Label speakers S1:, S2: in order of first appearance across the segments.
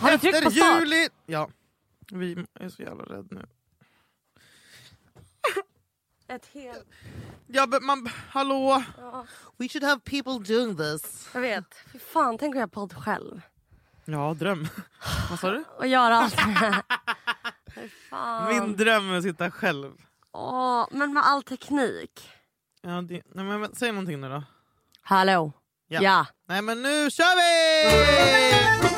S1: men tryck på
S2: efter
S1: start.
S2: juli... Ja. Vi jag är så jävla rädd nu.
S1: Ett helt...
S2: Ja, men man, hallå?
S1: Ja,
S2: We should have people doing this.
S1: jag vet. Fy fan, tänk att göra podd själv.
S2: Ja, dröm. Vad sa du?
S1: Och göra allt det här. Fy fan.
S2: Min dröm är att sitta själv.
S1: Åh, men med all teknik.
S2: Ja, det, nej, men, men, säg någonting nu då.
S1: Hallå?
S2: Ja.
S1: ja.
S2: Nej men nu kör vi!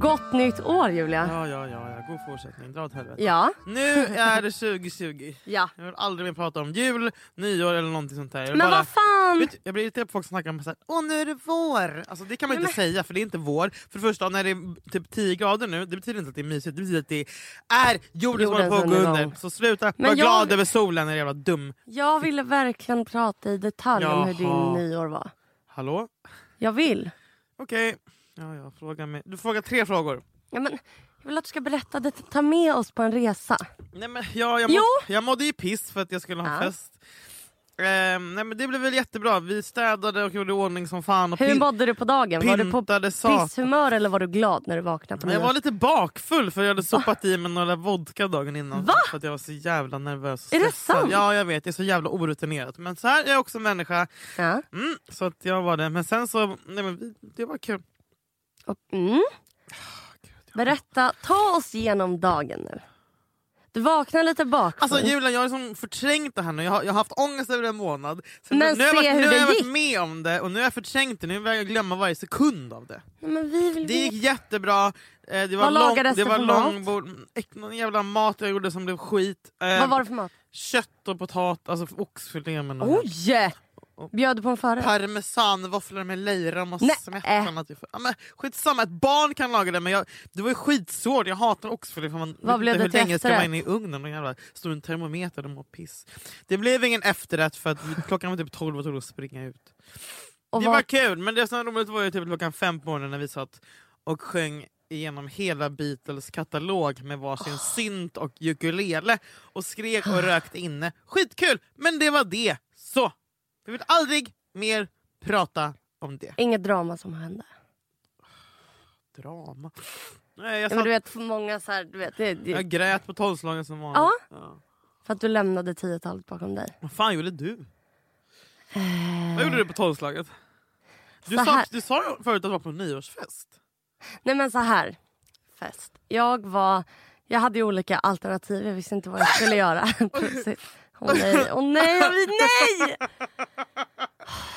S1: Gott nytt år Julia.
S2: Ja, ja, ja, ja. god fortsättning. Dra åt helvete.
S1: Ja.
S2: Nu är det 2020.
S1: Ja.
S2: Jag vill aldrig mer prata om jul, nyår eller någonting sånt där. Jag, vill
S1: Men
S2: bara,
S1: vad fan.
S2: vet, du, jag blir irriterad på folk som snackar om så här, Åh, nu är det vår. Alltså, det kan man
S1: Nej,
S2: inte säga för det är inte vår. För det första, när det är typ 10 grader nu, det betyder inte att det är mysigt. Det betyder att det är jordens
S1: Jordens
S2: håller på att gå under.
S1: undergång.
S2: Så sluta
S1: Men
S2: vara
S1: jag-
S2: glad över solen, är jävla dum.
S1: Jag ville verkligen prata i detalj om hur din
S2: Jaha.
S1: nyår var.
S2: Hallå?
S1: Jag vill.
S2: Okej. Ja, ja, fråga mig. Du frågar tre frågor.
S1: Ja, men, jag vill att du ska berätta. Det, ta med oss på en resa.
S2: Nej, men ja, jag,
S1: Jo.
S2: må, jag mådde ju piss för att jag skulle ha
S1: Ja.
S2: fest. Ehm, nej, men det blev väl jättebra. Vi städade och gjorde i ordning som fan. Och
S1: Hur
S2: pin-
S1: mådde du på dagen? Var du på
S2: pintade satan.
S1: pisshumör eller var du glad när du vaknade på
S2: Jag
S1: nyår?
S2: var lite bakfull för jag hade sopat i mig några vodka dagen innan.
S1: Ah. Va?
S2: För att jag var så jävla nervös. och
S1: Är det
S2: stressad.
S1: sant?
S2: Ja, jag vet. Jag är så jävla orutinerat. Men så här är jag också människa.
S1: Ja.
S2: Mm, så att jag var det. Men sen så... Nej, men vi- det var kul.
S1: Och, mm. Berätta. Ta oss igenom dagen nu. Du vaknade lite bakfull.
S2: Alltså Julia, jag har liksom förträngt det här nu. Jag har, jag har haft ångest över en månad. Sen
S1: Men
S2: nu har jag,
S1: se
S2: varit,
S1: hur
S2: nu har
S1: det
S2: jag
S1: gick.
S2: varit med om det och nu har jag förträngt det. Nu vill jag glömma varje sekund av det.
S1: Nej, men vi vill
S2: Det
S1: veta.
S2: gick jättebra. Eh, Det var,
S1: Vad lagades
S2: lång, det
S1: det
S2: var
S1: för
S2: långbord. Mm, äck, Någon jävla mat jag gjorde som blev skit. Eh,
S1: Vad var det för mat?
S2: Kött och potat, alltså oxfilé med någon
S1: Oj! Bjöd du på en förrätt?
S2: parmesanvåfflor med löjrom och
S1: Nej.
S2: smetana. Typ. Ja, men skitsamma, ett barn kan laga det men jag, det var ju skitsvårt. Jag hatar oxfilé. För man, vet inte
S1: blev det
S2: hur
S1: till
S2: länge ska
S1: efterrätt?
S2: man in i ugnen? Och jävla, står en termometer och mår piss. Det blev ingen efterrätt för att vi- klockan var typ 12 och var tvungna att springa ut.
S1: Och
S2: det
S1: vad-
S2: var kul men det som var roligt var ju typ klockan fem på morgonen när vi satt och sjöng igenom hela Beatles katalog med varsin synt och ukulele och skrek och rökte inne. Skitkul! Men det var det. Så! Vi vill aldrig mer prata om det.
S1: Inget drama som hände.
S2: Drama. Nej, jag,
S1: Ja,
S2: satt,
S1: men du vet, för många så här, du vet, det, det,
S2: Alltså- jag grät på tolvslagen som vanligt.
S1: Ja.
S2: Ja.
S1: För att du lämnade 10-talet bakom dig.
S2: Vad fan gjorde du? Vad gjorde du på tolvslaget? Du
S1: Så
S2: sa,
S1: här-
S2: du sa förut att du var på nyårsfest.
S1: Nej men så här. Fest. Jag var... Jag hade ju olika alternativ. Jag visste inte vad jag skulle göra. Precis. Åh nej, åh nej, åh nej!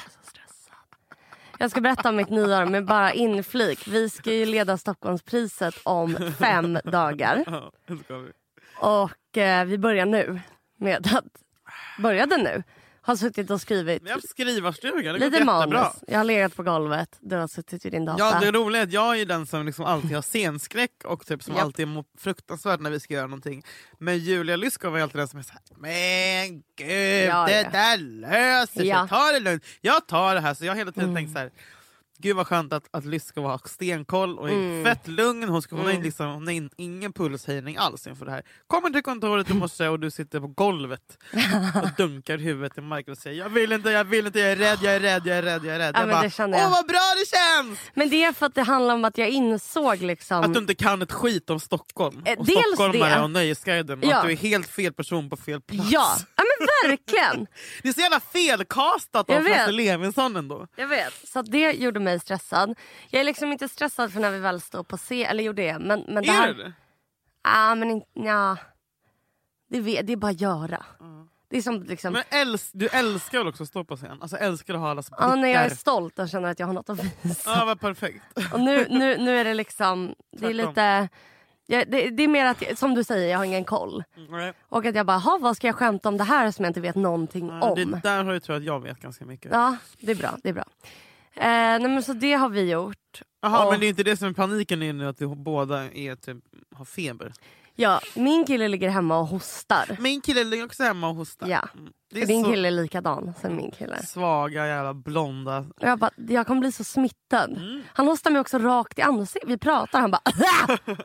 S1: Så stressad. Jag ska berätta om mitt nyår med bara inflik. Vi ska ju leda Stockholmspriset om fem dagar.
S2: Ja, det ska vi.
S1: Och eh, vi börjar nu med att... Började nu. Har suttit och skrivit
S2: Vi har haft skrivarstuga, det har gått
S1: lite
S2: jättebra.
S1: manus. Jag har legat på golvet. Du har suttit vid din data.
S2: Ja, det roliga är att jag är den som liksom alltid har scenskräck och typ som
S1: Japp.
S2: alltid mår fruktansvärt när vi ska göra någonting. Men Julia Lyskov är alltid den som är såhär, men gud
S1: Ja,
S2: det
S1: ja.
S2: där löser
S1: Ja. Mm.
S2: sig, ta det lugnt. Jag tar det här. Så jag har hela tiden tänkt så här. Gud vad skönt att, att Lyskov har stenkoll och är
S1: Mm.
S2: fett lugn. Hon, ska, hon, har liksom, hon har in, ingen pulshöjning alls inför det här. Kommer till kontoret i morse och du sitter på golvet och dunkar huvudet i marken och säger jag vill inte, jag vill inte, jag är rädd, jag är rädd, jag är rädd. Jag är rädd.
S1: Ja,
S2: jag
S1: men det känner jag.
S2: åh vad bra det känns!
S1: Men det är för att det handlar om att jag insåg liksom...
S2: Att du inte kan ett skit om Stockholm.
S1: Eh,
S2: och
S1: dels
S2: stockholmare
S1: det.
S2: och Nöjesguiden. och
S1: Ja.
S2: Att du är helt fel person på fel plats.
S1: Ja, ja men verkligen!
S2: Det är så jävla felkastat
S1: Jag
S2: av
S1: vet.
S2: Frasse Levinson ändå.
S1: Jag vet. Så att det gjorde mig stressad. Jag är liksom inte stressad för när vi väl står på scen, eller gjorde det. Men, men det
S2: Är
S1: här...
S2: du det?
S1: Ja, men inte... Ja. Det, vet, det är bara att göra. Det är som liksom...
S2: Mm. Men äls du älskar väl också att stå på scen? Alltså älskar att ha allas blickar?
S1: Ja, när jag är stolt och känner att jag har något att visa.
S2: Ja, vad perfekt.
S1: Och nu, nu, nu är det liksom... Det är
S2: Tvärtom.
S1: lite... Ja, det, det är mer att, jag- som du säger, jag har ingen koll.
S2: Nej.
S1: Och att jag bara, "Ha, vad ska jag skämta om det här som jag inte vet någonting om?
S2: Det där har jag tror att jag vet ganska mycket.
S1: Ja, det är bra. Det är bra. Eh, nej, men så det har vi gjort.
S2: Jaha,
S1: Och-
S2: men det är inte det som är paniken är nu, att vi båda är, typ, har feber.
S1: Ja, min kille ligger hemma och hostar.
S2: Min kille ligger också hemma och hostar. Mm.
S1: Ja.
S2: Det
S1: För
S2: är
S1: din
S2: så
S1: kille är likadan som min kille.
S2: svaga jävla blonda.
S1: Och jag bara, jag kommer bli så smittad.
S2: Mm.
S1: Han hostar mig också rakt i ansiktet. Vi pratar han bara...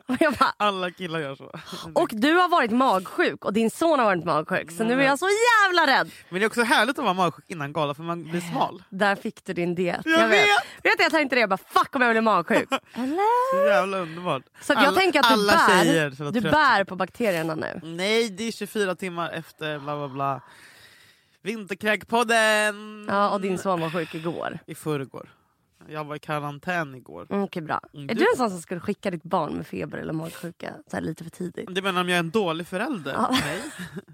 S1: och jag bara
S2: Alla killar gör så.
S1: och du har varit magsjuk och din son har varit magsjuk. Så nu är jag så jävla rädd.
S2: Men det är också härligt att vara magsjuk innan gala för man blir smal.
S1: Där fick du din diet.
S2: Jag
S1: vet.
S2: vet.
S1: vet du, jag tänkte det. Jag bara fuck om jag blir magsjuk. Eller?
S2: Så jävla underbart.
S1: Så att jag
S2: Alla-
S1: tänker att du,
S2: alla tjejer som
S1: bär,
S2: var
S1: du
S2: trött.
S1: bär på bakterierna nu.
S2: Nej, det är 24 timmar efter bla bla bla. Vinterkräkpodden!
S1: Ja, och din son var sjuk igår.
S2: I förrgår. Jag var i karantän igår.
S1: Mm, Okej, bra.
S2: Mm, du-
S1: Är du en sån som skulle skicka ditt barn med feber eller magsjuka så här lite för tidigt?
S2: Du menar om jag är en dålig förälder? Nej.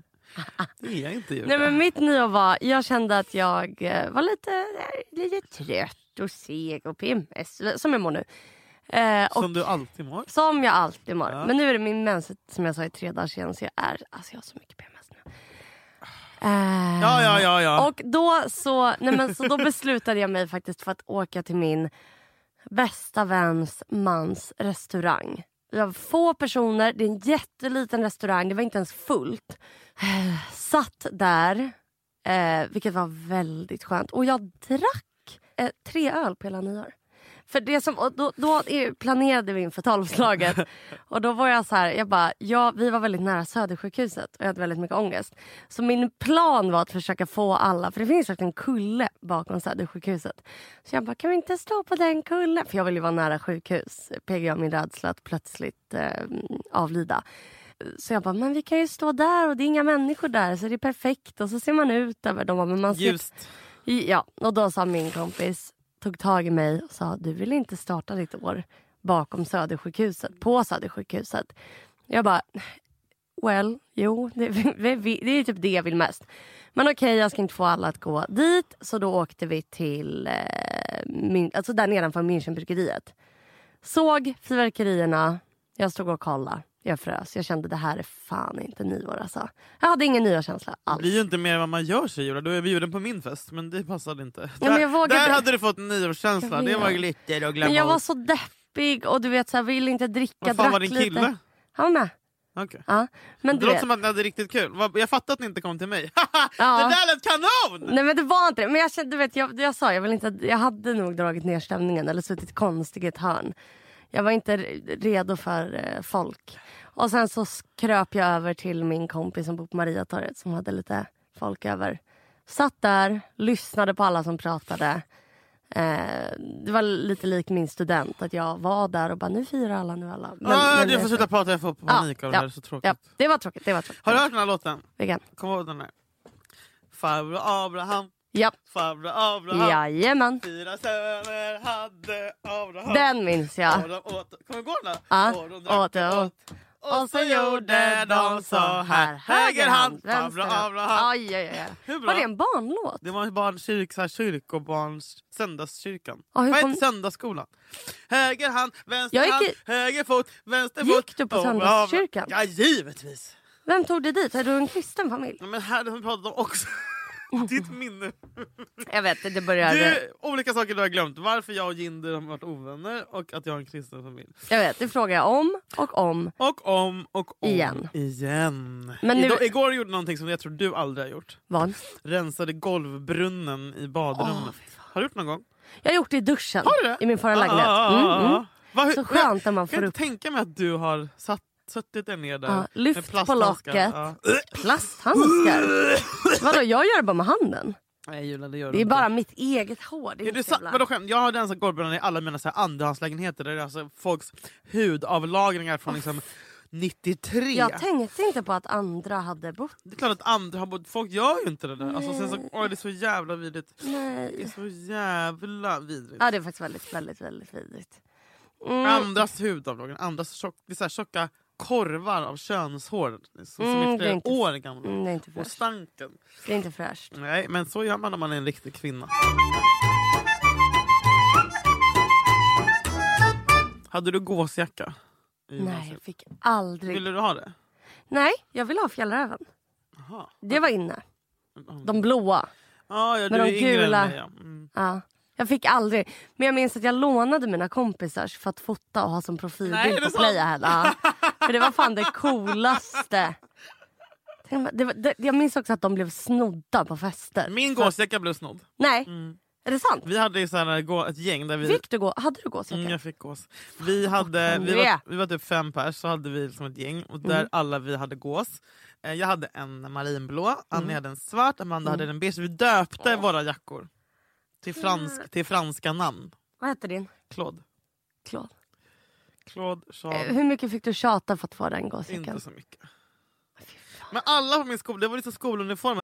S2: Det är jag inte Julia.
S1: Nej, men mitt nyår var... Jag kände att jag eh, var lite, eh, lite trött och seg och PMS, som jag mår nu. Eh, och
S2: Som du alltid mår.
S1: Som jag alltid mår.
S2: Ja.
S1: Men nu är det min mens som jag sa i tre dagar sedan så jag är, alltså jag har så mycket PMS nu. Eh,
S2: Ja, ja, ja. ja.
S1: Och då så, nej men, så då beslutade jag mig faktiskt för att åka till min bästa väns mans restaurang. Vi var få personer, det är en jätteliten restaurang, det var inte ens fullt. Eh, Satt där, eh, vilket var väldigt skönt. Och jag drack eh, tre öl på hela nyår. För det som, och då, då är- planerade vi inför tolvslaget. Och då var jag så här, jag bara, ja, vi var väldigt nära Södersjukhuset och jag hade väldigt mycket ångest. Så min plan var att försöka få alla, för det finns faktiskt en kulle bakom Södersjukhuset. Så jag bara, kan vi inte stå på den kullen? För jag vill ju vara nära sjukhus. PGA min rädsla att plötsligt eh, avlida. Så jag bara, men vi kan ju stå där och det är inga människor där så det är perfekt. Och så ser man ut över dem. Men man ser
S2: Ljust.
S1: Ja, och då sa min kompis, tog tag i mig och sa du vill inte starta ditt år bakom Södersjukhuset, på Södersjukhuset. Jag bara, well, jo, det, vi, vi, det är typ det jag vill mest. Men okej, jag ska inte få alla att gå dit. Så då åkte vi till, eh, min, alltså där nedanför Münchenbryggeriet. Såg fyrverkerierna, jag stod och kollade. Jag frös. Jag kände det här är fan inte nyår alltså. Jag hade ingen nyårskänsla
S2: Det
S1: alls.
S2: blir ju inte mer vad man gör sig Julia. Du är bjuden på min fest men det passade inte.
S1: men
S2: där
S1: jag vågade-
S2: där hade du fått en nyårskänsla.
S1: Jag
S2: Det var
S1: vet.
S2: glitter och glamour.
S1: Men jag var så deppig och du vet så här, ville inte dricka.
S2: Vad fan
S1: drack
S2: var din
S1: lite.
S2: kille?
S1: Han var med.
S2: Okej.
S1: Ja. Men
S2: Det
S1: du
S2: låter
S1: vet,
S2: som att ni hade riktigt kul. Vad- Jag fattar att ni inte kom till mig.
S1: Ja.
S2: Det där lät kanon!
S1: Nej men det var inte det. Men jag kände, du vet, jag, jag sa jag vill inte, jag hade nog dragit ner stämningen eller suttit konstigt i ett hörn. Jag var inte re- redo för eh, folk. Och sen så s- kröp jag över till min kompis som bor på Mariatorget som hade lite folk över. Satt där, lyssnade på alla som pratade. Eh, det var lite lik min student att jag var där och bara nu firar alla, nu alla. Men,
S2: ah,
S1: men-
S2: du får sluta prata, jag får panik av det här. Det är så tråkigt.
S1: Ja, det var tråkigt. Det var tråkigt.
S2: Har du hört den här låten?
S1: Vegan.
S2: Kommer du ihåg den här? Farbror Abraham,
S1: Ja.
S2: farbror Abraham.
S1: Jajamän.
S2: Fyra söner hade Abraham.
S1: Den minns
S2: Och
S1: jag.
S2: de åt, kommer du ihåg den?
S1: Ja.
S2: Och de
S1: Åt,
S2: drack
S1: åt.
S2: Och så gjorde de så här. Höger hand,
S1: vänster
S2: farbror
S1: hand.
S2: Abraham.
S1: Aj, aj, aj.
S2: Hur bra?
S1: Var det en barnlåt?
S2: Det var barnkyrk, så här kyrkobarns... Söndagskyrkan.
S1: Ja, hur
S2: Vad
S1: kom-
S2: heter söndagsskolan? Höger hand, vänster
S1: Jag gick
S2: hand,
S1: i-
S2: höger fot, vänster
S1: Gick
S2: fot.
S1: du på
S2: Och- och-
S1: söndagskyrkan?
S2: Ja, givetvis.
S1: Vem tog dig dit? Är du en kristen familj?
S2: Ja, Men här har vi pratat om också. Ditt minne.
S1: Jag vet, Oh. det börjar...
S2: Du, olika saker du har glömt. Varför jag och Jinder har varit ovänner och att jag har en kristen familj.
S1: Jag vet, det frågar jag om och om.
S2: Och om och om
S1: Igen.
S2: igen.
S1: Men nu-
S2: Idag, igår gjorde jag någonting som jag tror du aldrig har gjort.
S1: Vad?
S2: Rensade golvbrunnen i badrummet. har du gjort någon gång?
S1: Jag har gjort det i duschen.
S2: Har du det?
S1: I min förra
S2: Ah,
S1: lägenhet.
S2: ah, ah, ah.
S1: Mm, mm.
S2: Vad- hur-
S1: Så
S2: jag-
S1: skönt när man
S2: Jag
S1: får
S2: kan
S1: upp...
S2: inte tänka mig att du har satt, suttit där nere där.
S1: Ja, lyft
S2: med
S1: på
S2: plasthandskar.
S1: locket.
S2: Ja.
S1: Plasthandskar? Vadå, jag gör det bara med handen.
S2: Nej Julia det gör du
S1: Det är
S2: inte.
S1: bara mitt eget hår. Det är,
S2: Är du
S1: helt
S2: sa-
S1: jävla-
S2: vadå skämt? Jag har rensat golvbrunnar i alla mina så här andrahandslägenheter. Där det är alltså folks hudavlagringar från liksom 93.
S1: Jag tänkte inte på att andra hade bott
S2: Det är klart att andra har bott... Folk gör ju inte det där. Alltså, sen så, åh, det är så jävla vidrigt. Det är
S1: Nej.
S2: så jävla vidrigt.
S1: Ja, det är faktiskt väldigt, väldigt, väldigt vidrigt. Mm.
S2: Andras hudavlagring, andras tjock, det är så här tjocka korvar av könshår som, som
S1: Mm, det
S2: är
S1: är
S2: flera
S1: inte-
S2: år gamla.
S1: Mm, det är inte
S2: Och
S1: fräscht.
S2: stanken.
S1: Det är inte fräscht.
S2: Nej, men så gör man när man är en riktig kvinna. Hade du gåsjacka? i
S1: Nej,
S2: gymnasiet?
S1: jag fick aldrig.
S2: Ville Mm. du ha det?
S1: Nej, jag ville ha fjällräven.
S2: Jaha.
S1: Det var inne.
S2: Mm.
S1: De blåa.
S2: Ah, ja,
S1: Med
S2: du
S1: de
S2: är yngre
S1: gula.
S2: än mig. Ja. Mm.
S1: Ja. Jag fick aldrig. Men jag minns att jag lånade mina kompisars för att fota och ha som
S2: Nej, är det
S1: profilbild på
S2: sant?
S1: Playahead. Ja. För det var fan det coolaste. Nej, men Det, var- det, jag minns också att de blev snodda på fester.
S2: Min gåsjacka blev snodd.
S1: Nej,
S2: Mm.
S1: är det sant?
S2: Vi hade ju så här, gå- ett gäng där vi...
S1: Fick du gå? Hade du gåsjacka?
S2: Mm, jag fick gås. Vi, hade, vi,
S1: Yeah.
S2: var, vi var typ fem pers, så hade vi liksom ett gäng och
S1: Mm.
S2: där alla vi hade gås. Eh, Jag hade en marinblå, Annie
S1: Mm.
S2: hade en svart, Amanda hade en beige. Vi döpte våra jackor till, fransk, till franska namn.
S1: Vad hette din?
S2: Claude.
S1: Claude.
S2: Claude,
S1: Eh,
S2: Charles.
S1: Hur mycket fick du tjata för att få den gåsjackan?
S2: Inte så mycket.
S1: Ah,
S2: Men alla på min skola, det var liksom skoluniformer.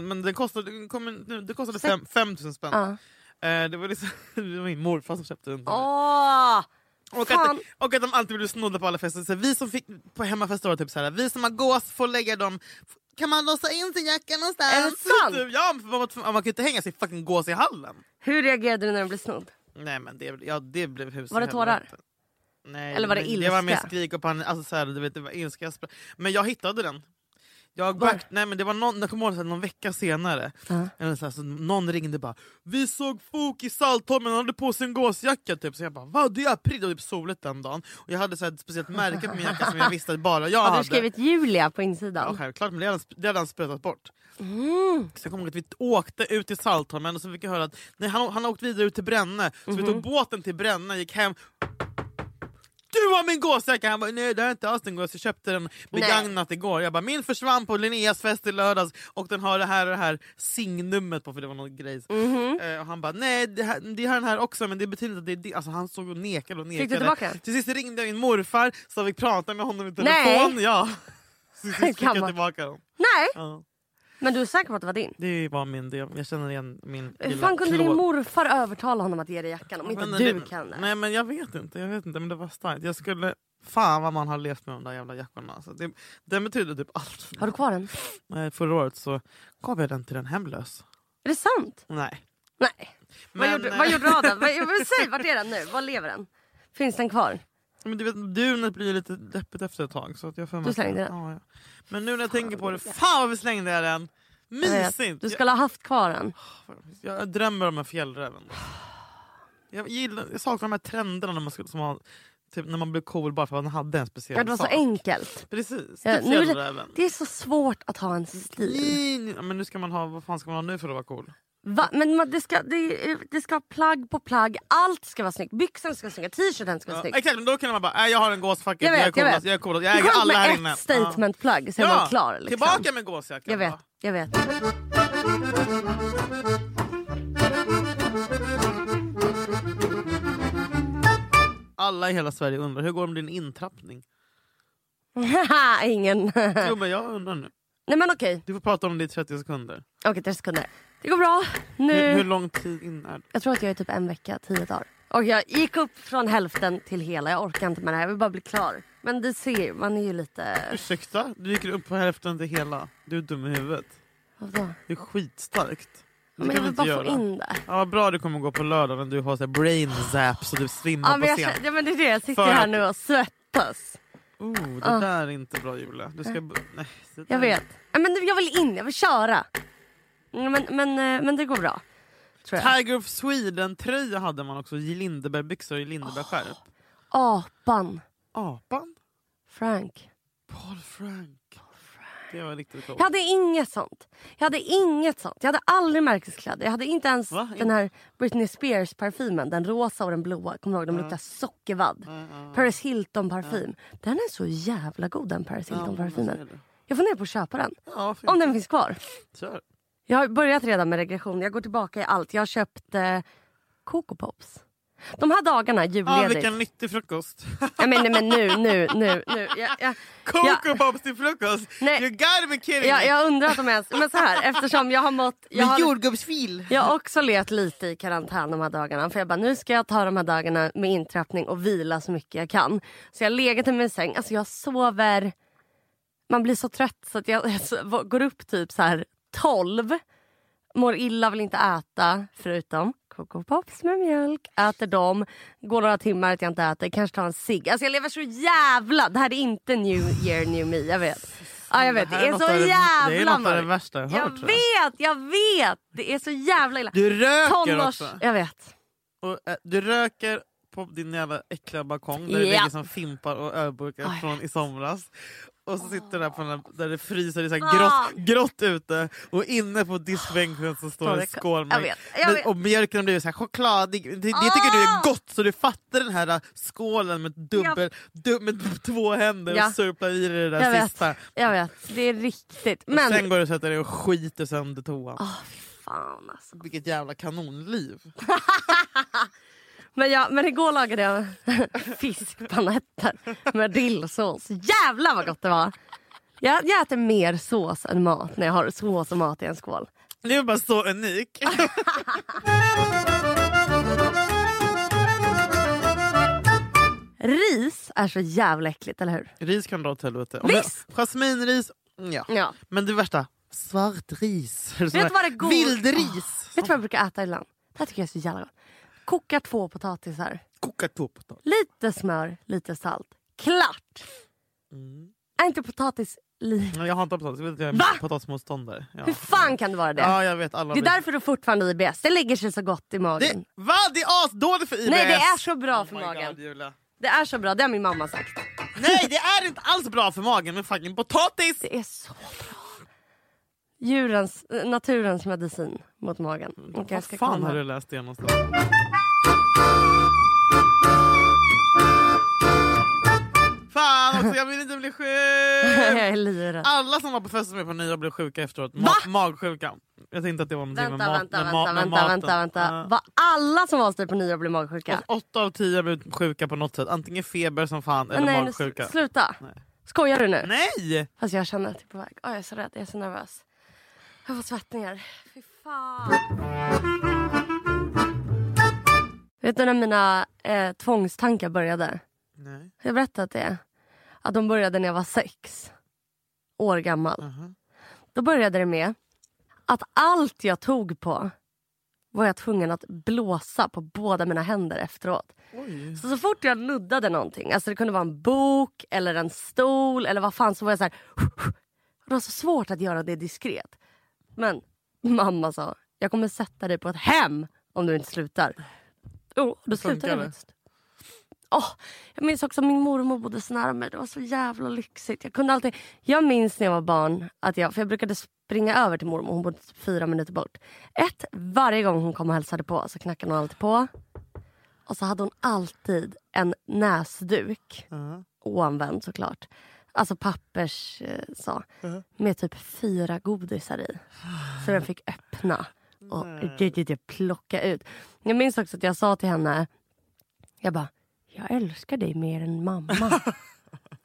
S2: Men det kostade, det kom en- nu- det kostade fem, 5 000 spänn. Eh, Det var, liksom, det var min morfar som köpte den. till mig.
S1: Åh!
S2: Och att,
S1: Fan.
S2: och att de alltid blev snodda på alla fester. Så vi som fick på hemmafester var typ så här, vi som har gås får lägga dem... Kan man låsa in sin jacka någonstans?
S1: Är det sant?
S2: Typ, Ja, för man, var tvungen- man kan ju inte hänga sin fucking gås i hallen.
S1: Hur reagerade du när den blev snodd?
S2: Nej men det, ja, det blev hus i
S1: Var det tårar?
S2: helvete. Nej,
S1: Eller var det
S2: men Det var
S1: ilska?
S2: mer skrik och panik. Alltså, så här, du vet, det var ilska. jag spr- Men jag hittade den. Jag
S1: Var?
S2: back, nej, men det var någon, jag kommer ihåg så här, någon vecka senare, eller så här, så någon ringde bara “Vi såg Fok i Saltholmen, han hade på sig en gåsjacka” typ. Så jag bara “Va? Det är april” och typ soligt den dagen. Och jag hade så här, ett speciellt märke på min jacka som jag visste att bara jag
S1: Hade
S2: hade.
S1: du skrivit Julia på
S2: Ja,
S1: insidan?
S2: självklart, men det hade han sp- det hade han spötat bort.
S1: Mm.
S2: Så jag kommer ihåg att vi åkte ut till Saltholmen och så fick jag höra att nej, han, han har åkt vidare ut till Bränne. Så vi
S1: Mhm.
S2: tog båten till Bränne, gick hem. Du har min gåsjacka! Han bara, nej det här är inte alls din gås, jag köpte den begagnat igår. Jag bara, min försvann på Linneas fest i lördags och den har det här och det här signnumret på för det var någon grej.
S1: Mhm.
S2: Eh, och han bara, nej det, här, det har den här också men det betyder inte att det är din. Alltså han såg och nekade och nekade.
S1: tillbaka den?
S2: Till sist ringde jag min morfar så vi pratade med honom i
S1: Nej.
S2: telefon. Ja. Så till sist fick jag
S1: Gammal.
S2: tillbaka dem.
S1: Nej,
S2: Ja.
S1: men du är säker på att det var din?
S2: Det var min del. Jag känner igen min
S1: Hur
S2: lilla
S1: fan kunde din
S2: klå.
S1: morfar övertala honom att ge dig jackan om inte
S2: Men
S1: du
S2: det-
S1: kan det?
S2: Nej men jag vet inte, jag vet inte men det var starkt. Jag skulle... Fan vad man har levt med de där jävla jackorna. Alltså, det, den betyder typ allt. för
S1: Har du
S2: mig.
S1: kvar den?
S2: Nej, förra året så gav jag den till en hemlös.
S1: Är det sant?
S2: Nej.
S1: Nej.
S2: Men,
S1: vad, gjorde,
S2: eh,
S1: vad gjorde du av den? Vad, vad- säg, vart är den nu? Var lever den? Finns den kvar?
S2: Men du vet, dunet blir lite deppigt efter ett tag. Så att jag får med
S1: Du
S2: att-
S1: slängde den?
S2: Ja, ja. Men nu när jag tänker på det, fan vad vi slängde jag den! Mysigt!
S1: Du skulle ha haft kvar den.
S2: jag, jag drömmer om en fjällräven. Jag, gillar, jag saknar de här trenderna när man, skulle, som man, typ, när man blev cool bara för att man hade en speciell
S1: Ja, det var så
S2: sak.
S1: enkelt.
S2: Precis,
S1: Ja,
S2: typ
S1: nu är det,
S2: fjällräven.
S1: det är så svårt att ha en stil.
S2: Nej, nej, ja, Men nu ska man ha, vad fan ska man ha nu för att vara cool?
S1: Va? Men man, det, ska, det, det ska vara plagg på plagg. Allt ska vara snyggt. Byxan ska vara snygg, t-shirten ska vara
S2: Ja,
S1: snygg.
S2: exakt, men då kan man bara, äh, jag har en gåsfacket,
S1: Jag
S2: jag,
S1: vet,
S2: är coolast,
S1: jag vet.
S2: jag är coolast,
S1: Det
S2: jag
S1: är
S2: äger
S1: skönt
S2: alla här
S1: med
S2: inne.
S1: ett statementplagg så är man klar. Liksom.
S2: Tillbaka med gåsjackan.
S1: Jag vet,
S2: va?
S1: jag vet.
S2: Alla i hela Sverige undrar, hur går det med din intrappning?
S1: Ingen.
S2: Jo men jag undrar nu.
S1: Nej men okej.
S2: Du får prata om det i 30 sekunder.
S1: Okej, 30 sekunder. Det går bra.
S2: Hur, hur
S1: Nu,
S2: lång tid in är du?
S1: jag tror att jag är typ en vecka, tio dagar. Och jag gick upp från hälften till hela. Jag orkar inte med det här. Jag vill bara bli klar. Men det ser ju, man är ju lite...
S2: Ursäkta, du gick upp på hälften till hela. Du är dum i huvudet.
S1: Vadå?
S2: Det är skitstarkt. Det kan
S1: Men jag
S2: vi
S1: vill
S2: inte
S1: bara
S2: göra.
S1: få in det.
S2: Ja, vad bra du kommer gå på lördag när du har så här brain zap så du svimmar
S1: Ja, men
S2: på
S1: jag,
S2: scen.
S1: känner- ja, men det är det. Jag sitter
S2: För
S1: här
S2: att-
S1: nu och svettas.
S2: Oh, det där är inte bra Julia. Du ska... b- Nej, det där-
S1: Jag vet. Ja, Men jag vill in, jag vill köra. Ja, Men, men, eh, men det går bra. Tror jag.
S2: Tiger of Sweden-tröja hade man också. I Lindeberg-byxor och i Lindeberg-skärp.
S1: Apan
S2: Apan?
S1: Frank.
S2: Paul Frank. Det var riktigt coolt.
S1: Jag hade inget sånt. Jag hade inget sånt. Jag hade aldrig märkeskläder. Jag hade inte ens
S2: Va?
S1: den här Britney Spears parfymen. Den rosa och den blåa. Kommer du ihåg? De luktar sockervadd. Paris Hilton parfym. Den är så jävla god den Paris Hilton
S2: ser
S1: parfymen.
S2: det.
S1: Jag funderar på att köpa den.
S2: Ja, fint.
S1: Om den finns kvar.
S2: Kör.
S1: Jag har börjat redan med regression. Jag går tillbaka i allt. Jag har köpt eh, Coco Pops. De här dagarna,
S2: Ah,
S1: julledigt.
S2: vilken nyttig frukost.
S1: Nej, men, nej, men nu, nu, nu. nu. Jag, jag,
S2: Coco Bobs till frukost!
S1: Nej.
S2: You gotta be kidding
S1: jag,
S2: me!
S1: jag undrar om jag ens... Men så här, eftersom jag har mått... Jag
S2: Med
S1: har, liksom-
S2: jordgubbsfil!
S1: jag har också levt lite i karantän de här dagarna. För jag bara, nu ska jag ta de här dagarna med intrappning och vila så mycket jag kan. Så jag har legat i min säng. Alltså jag sover... Man blir så trött så att jag, jag så- går upp typ så här 12. Mår illa, vill inte äta förutom Coco Pops med mjölk. Äter dem, går några timmar att jag inte äter, kanske tar en cigg. Alltså jag lever så jävla... Det här är inte new year, new me. Jag vet. Ja, jag vet. Det
S2: här
S1: är
S2: något av
S1: så
S2: Alltså, det- Det är
S1: jävla
S2: något av det
S1: mörkt.
S2: värsta jag har
S1: Jag
S2: hört. tror jag.
S1: vet, jag vet! Det är så jävla illa.
S2: Du röker
S1: Tonårs...
S2: också!
S1: Jag vet.
S2: Och, eh, du röker på din jävla äckliga balkong där det
S1: Ja.
S2: ligger som fimpar och ölburkar
S1: Oj.
S2: från i somras. Och så sitter du där, på den här, där det fryser, det är så här
S1: Ah.
S2: grått, grått ute och inne på diskbänken så står
S1: Står
S2: det
S1: det-
S2: en skål
S1: jag
S2: med
S1: vet, jag
S2: men-
S1: vet.
S2: Och mjölken har blivit så här chokladig. Det, det tycker du är
S1: Ah.
S2: gott så du fattar den här eh, skålen med, dubbel, du, med två händer
S1: Ja.
S2: och surplar i dig det där
S1: Jag vet.
S2: sista.
S1: Jag vet. Det är riktigt.
S2: Och
S1: Men... Ah.
S2: sen går du och sätter dig och skiter sönder toan.
S1: Fan alltså.
S2: Vilket jävla kanonliv.
S1: Men, jag, men igår lagade jag fiskpanetter med dillsås. Jävlar vad gott det var! Jag, jag äter mer sås än mat när jag har sås och mat i en skål.
S2: Du är bara så unik.
S1: Ris är så jävla äckligt, eller hur?
S2: Ris kan dra åt helvete. Om
S1: Visst!
S2: jag- Jasminris, mm, ja.
S1: Ja.
S2: Men det värsta, svart ris. Eller sån
S1: du
S2: här
S1: vad det går- Ah.
S2: Vildris!
S1: Vet du vad jag brukar äta ibland? Det här tycker jag är så jävla gott. Koka två potatisar.
S2: Koka två potatis.
S1: Lite smör, lite salt. Klart!
S2: Mm.
S1: Är inte potatis li...
S2: Nej, Jag har inte potatis, jag vet att jag är
S1: Va?
S2: potatismotståndare. Ja.
S1: Hur fan kan det vara det?
S2: ja, jag vet. Alla
S1: det är
S2: vet.
S1: därför du fortfarande är IBS. Det lägger sig så gott i magen.
S2: Det, va? Det är asdåligt för IBS!
S1: Nej, det är så bra för
S2: Oh my
S1: magen.
S2: God, Julia.
S1: Det är så bra, det har min mamma sagt.
S2: Nej, det är inte alls bra för magen med fucking potatis!
S1: Det är så bra. Djurens, eh, naturens medicin mot magen. Och jag
S2: Mm. Vad
S1: ska
S2: fan
S1: komma.
S2: har du läst det någonstans? Fan också, jag vill inte bli sjuk!
S1: jag är livrädd.
S2: Alla som var på festen med på nyår blev sjuka efteråt. Ma- magsjuka. Jag tänkte att det var någonting
S1: Vänta,
S2: med, mat, med,
S1: vänta, vänta,
S2: ma-
S1: vänta,
S2: med
S1: vänta,
S2: maten.
S1: vänta, Var alla som var hos dig på nyår blev magsjuka?
S2: Ja. Och åtta av tio blev sjuka på något sätt. Antingen feber som fan eller
S1: Men nej, nu-
S2: magsjuka.
S1: Sluta.
S2: Nej.
S1: Skojar du nu?
S2: Nej!
S1: Fast jag känner att jag är på väg. Åh, jag är så rädd, jag är så nervös. Jag får svettningar. Fy fan. Vet du när mina eh, tvångstankar började?
S2: Nej.
S1: Har jag berättat det? Att de började när jag var sex år gammal. Då började det med att allt jag tog på var jag tvungen att blåsa på båda mina händer efteråt. Så, så fort jag nuddade någonting, alltså det kunde vara en bok eller en stol eller vad fan, så var jag så här. Det var så svårt att göra det diskret. Men mamma sa, jag kommer sätta dig på ett hem om du inte slutar. Jo, oh, då slutade jag
S2: Funkade.
S1: faktiskt. Åh, jag minns också att min mormor bodde så nära mig. Det var så jävla lyxigt. Jag, kunde alltid... jag minns när jag var barn, att jag, för jag brukade springa över till mormor. Hon bodde typ fyra minuter bort. Ett, varje gång hon kom och hälsade på så knackade hon alltid på. Och så hade hon alltid en näsduk. Oanvänd såklart. Alltså pappers eh, så. Med typ fyra godisar i. Så den fick öppna och plocka ut. Jag minns också att jag sa till henne jag bara, jag älskar dig mer än mamma.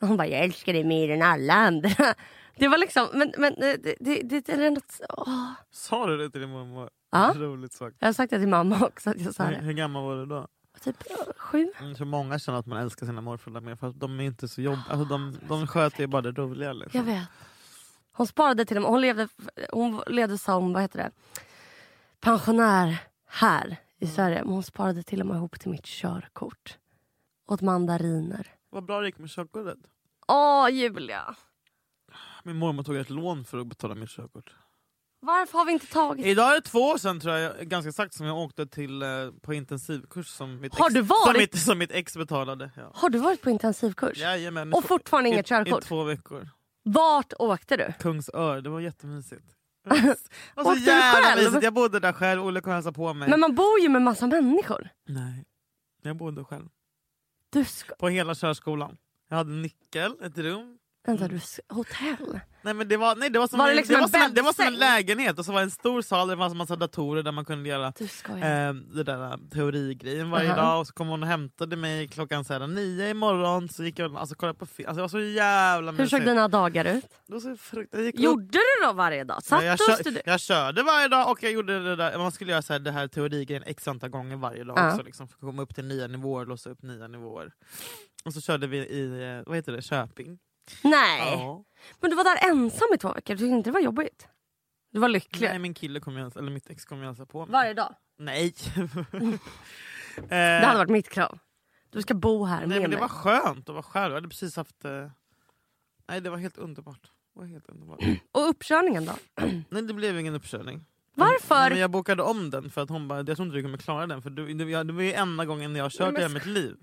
S1: Och Hon bara, jag älskar dig mer än alla andra. Det var liksom, men, men eh, det, det, det är något... Åh.
S2: Sa du det till din mormor?
S1: Ja.
S2: Roligt sagt.
S1: Jag har sagt det till mamma också, att jag sa
S2: Hur,
S1: det.
S2: hur gammal var du då?
S1: Typ eh, sju.
S2: Mm, Så många känner att man älskar sina morföräldrar mer för att de är inte så jobbiga. Alltså de, de sköter ju bara det roliga.
S1: Jag
S2: Liksom.
S1: vet. Hon sparade till dem. Hon levde, hon levde som vad heter det? pensionär här i
S2: Mm.
S1: Sverige. Men hon sparade till och med ihop till mitt körkort. Åt mandariner.
S2: Vad bra det gick med körkortet.
S1: Åh, Julia!
S2: Min mormor tog ett lån för att betala mitt körkort.
S1: Varför har vi inte tagit...
S2: Idag är det två år sedan tror jag, ganska exakt, som jag åkte till eh, på intensivkurs som mitt,
S1: Har
S2: ex,
S1: du varit?
S2: Som, mitt, som mitt ex betalade. Ja.
S1: Har du varit på intensivkurs?
S2: Jajamän, i
S1: Och
S2: två-
S1: fortfarande
S2: i-
S1: inget körkort?
S2: I två veckor.
S1: Vart åkte du?
S2: Kungsör, det var jättemysigt. Det var så
S1: Åkte du
S2: jävla
S1: själv?
S2: mysigt. Jag bodde där själv, Olle kom och hälsade på mig.
S1: Men man bor ju med massa människor.
S2: Nej, jag bodde själv.
S1: Du ska...
S2: På hela körskolan. Jag hade en nyckel, ett rum. Mm.
S1: Vänta, du ska... Hotell?
S2: Nej, men det var, nej, det var som,
S1: Var det
S2: en,
S1: liksom
S2: det var
S1: en
S2: som, en, det var som en
S1: bäddsäng?
S2: lägenhet och så var det en stor sal där det fanns en massa datorer där man kunde göra
S1: Du skojar.
S2: eh, det där teorigrejen varje
S1: Aha.
S2: dag. Och så kom hon och hämtade mig klockan så här, nio imorgon. Så gick jag alltså, kollade på film. Alltså, det var så jävla
S1: Hur såg dina dagar ut?
S2: Det var så frukt- jag gick upp
S1: Gjorde du då varje dag? Satt
S2: jag,
S1: du och
S2: kör,
S1: studerade?
S2: jag körde varje dag och jag gjorde det där. Man skulle göra så här, det här teorigrejen x antal gånger varje dag
S1: Ja.
S2: också, liksom, för att komma upp till nya nivåer, låsa upp nya nivåer. Och så körde vi i eh, vad heter det, Köping.
S1: Nej.
S2: Ja.
S1: Men du var där ensam i två veckor. Du tyckte inte det var jobbigt? Du var lycklig?
S2: Nej, min kille kom ju hälsa- eller mitt ex kom ju hälsa på mig.
S1: Varje dag?
S2: Nej.
S1: Det hade varit mitt krav. Du ska bo här
S2: Nej
S1: med
S2: men det
S1: mig.
S2: var skönt att vara själv. Jag hade precis haft... eh, Nej det var helt underbart. Det var helt underbart.
S1: Och uppkörningen då?
S2: Nej det blev ingen uppkörning. Nej,
S1: Varför?
S2: men jag bokade om den för att hon bara, jag tror inte du kommer klara den för du, det, jag- det var ju enda gången jag har kört i
S1: men
S2: hela mitt liv.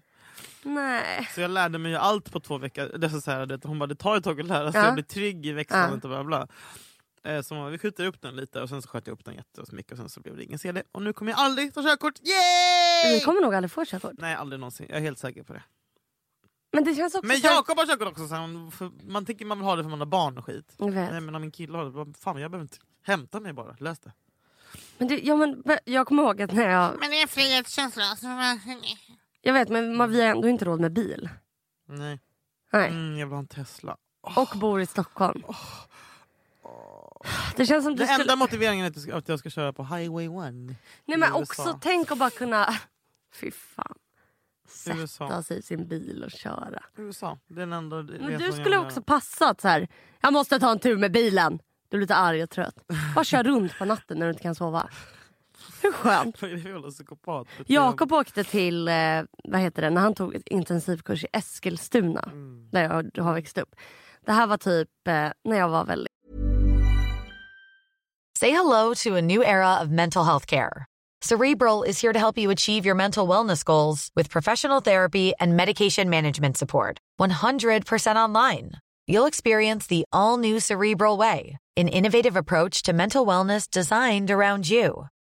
S1: Nej.
S2: Så jag lärde mig ju allt på två veckor. Det är så här, det, hon bara, det tar ett tag att lära sig,
S1: Ja.
S2: jag blir trygg i växandet
S1: Ja.
S2: och bla bla. Eh, Så hon bara, vi skjuter upp den lite och sen så sköt jag upp den jättemycket och sen så blev det ingen CD. Och nu kommer jag aldrig ta körkort! Yay!
S1: Vi kommer nog aldrig få körkort.
S2: Nej aldrig någonsin, jag är helt säker på det.
S1: Men det känns också...
S2: Men
S1: så här-
S2: Jakob har körkort också, så han, för man tänker man vill ha det för man har barn och skit.
S1: Jag vet.
S2: Nej men om min kille har det, vad fan jag behöver inte, hämta mig bara, läs det.
S1: Men det, ja, men, jag kommer ihåg att när jag...
S3: Men det är frihetskänsla. Så man...
S1: Jag vet, men man, vi har ändå inte råd med bil.
S2: Nej,
S1: Nej.
S2: mm, jag vill ha en Tesla.
S1: Och bor i Stockholm. Det känns som du
S2: Den
S1: skulle...
S2: Oh. enda motiveringen är att jag ska- att jag ska köra på highway 1
S1: Nej men
S2: i
S1: också
S2: USA.
S1: tänk att bara kunna... Fy fan.
S2: I USA.
S1: Sätta sig i sin bil och köra.
S2: USA. Det är den enda resan
S1: Men
S2: jag
S1: du
S2: vill
S1: skulle
S2: göra.
S1: också passat så här. Jag måste ta en tur med bilen. Du är lite arg och trött. Bara kör runt på natten när du inte kan sova. Hur skönt?
S2: Vad är det för jävla psykopat?
S1: Jakob åkte till, eh, vad heter det, när han tog ett intensivkurs i Eskilstuna.
S2: Mm.
S1: Där jag har växt upp. Det här var typ eh, när jag var väl
S4: Say hello to a new era of mental health care. Cerebral is here to help you achieve your mental wellness goals with professional therapy and medication management support. 100% online. You'll experience the all new Cerebral Way, an innovative approach to mental wellness designed around you.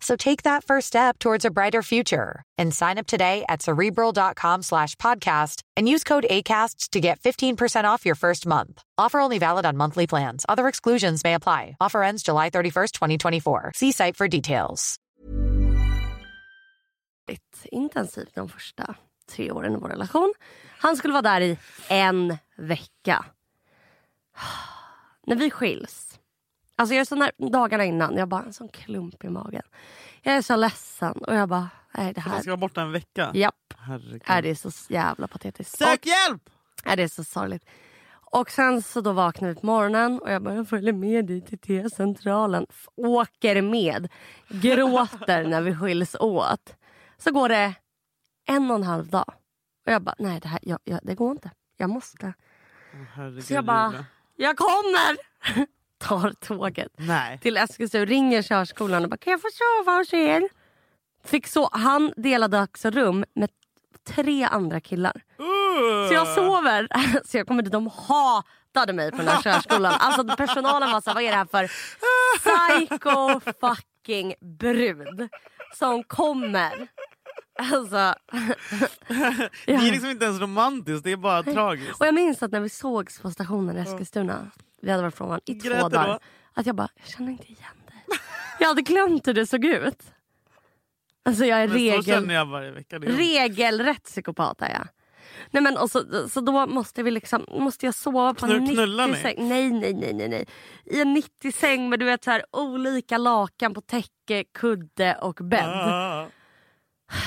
S4: So take that first step towards a brighter future and sign up today at cerebral.com slash podcast and use code ACAST to get 15% off your first month. Offer only valid on monthly plans. Other exclusions may apply. Offer ends July 31st, 2024. See site for details.
S1: väldigt intensivt de första tre åren i vår relation. Han skulle vara där i en vecka. När vi skiljs. Alltså jag är så när, dagarna innan, jag bara en sån klump i magen. Jag är så ledsen och jag bara, nej det
S2: För de
S1: här.
S2: ska vara borta en vecka?
S1: Japp.
S2: Herregud.
S1: Är det är så jävla patetiskt.
S2: Sök hjälp!
S1: Ja, det är så sorgligt. Och sen så då vaknade vi på morgonen och jag bara, jag följer med dig till T-centralen. F- Åker med. Gråter när vi skiljs åt. Så går det en och en halv dag. Och jag bara, nej det här jag, jag, det går inte. Jag måste.
S2: Herregud,
S1: Så jag bara,
S2: Julia.
S1: jag kommer! Tar tåget
S2: Nej.
S1: till Eskilstuna, ringer körskolan och bara, kan jag få sova hos er? Fick så, han delade också rum med tre andra killar. Så jag sover. Så jag kommer dit. De hatade mig på den här körskolan. Alltså personalen var såhär, vad är det här för psycho fucking brud som kommer? Alltså,
S2: Det är liksom inte ens romantiskt, det är bara tragiskt.
S1: och jag minns att när vi sågs på stationen i Eskilstuna, vi hade varit från varandra i två
S2: Grät du
S1: dagar.
S2: då?
S1: Att jag bara, jag känner inte igen dig. Jag hade glömt hur det såg ut. Alltså jag är
S2: Men så
S1: regel...
S2: känner jag varje vecka. Det är-
S1: Regelrätt psykopat är jag. Nej, men, och så, så då måste, vi liksom, måste jag sova på en
S2: Knull- knulla
S1: 90
S2: ni?
S1: säng. Nej, nej, nej, nej, nej. I en 90 säng med du vet, så här, olika lakan på täcke, kudde och bädd.
S2: Ah,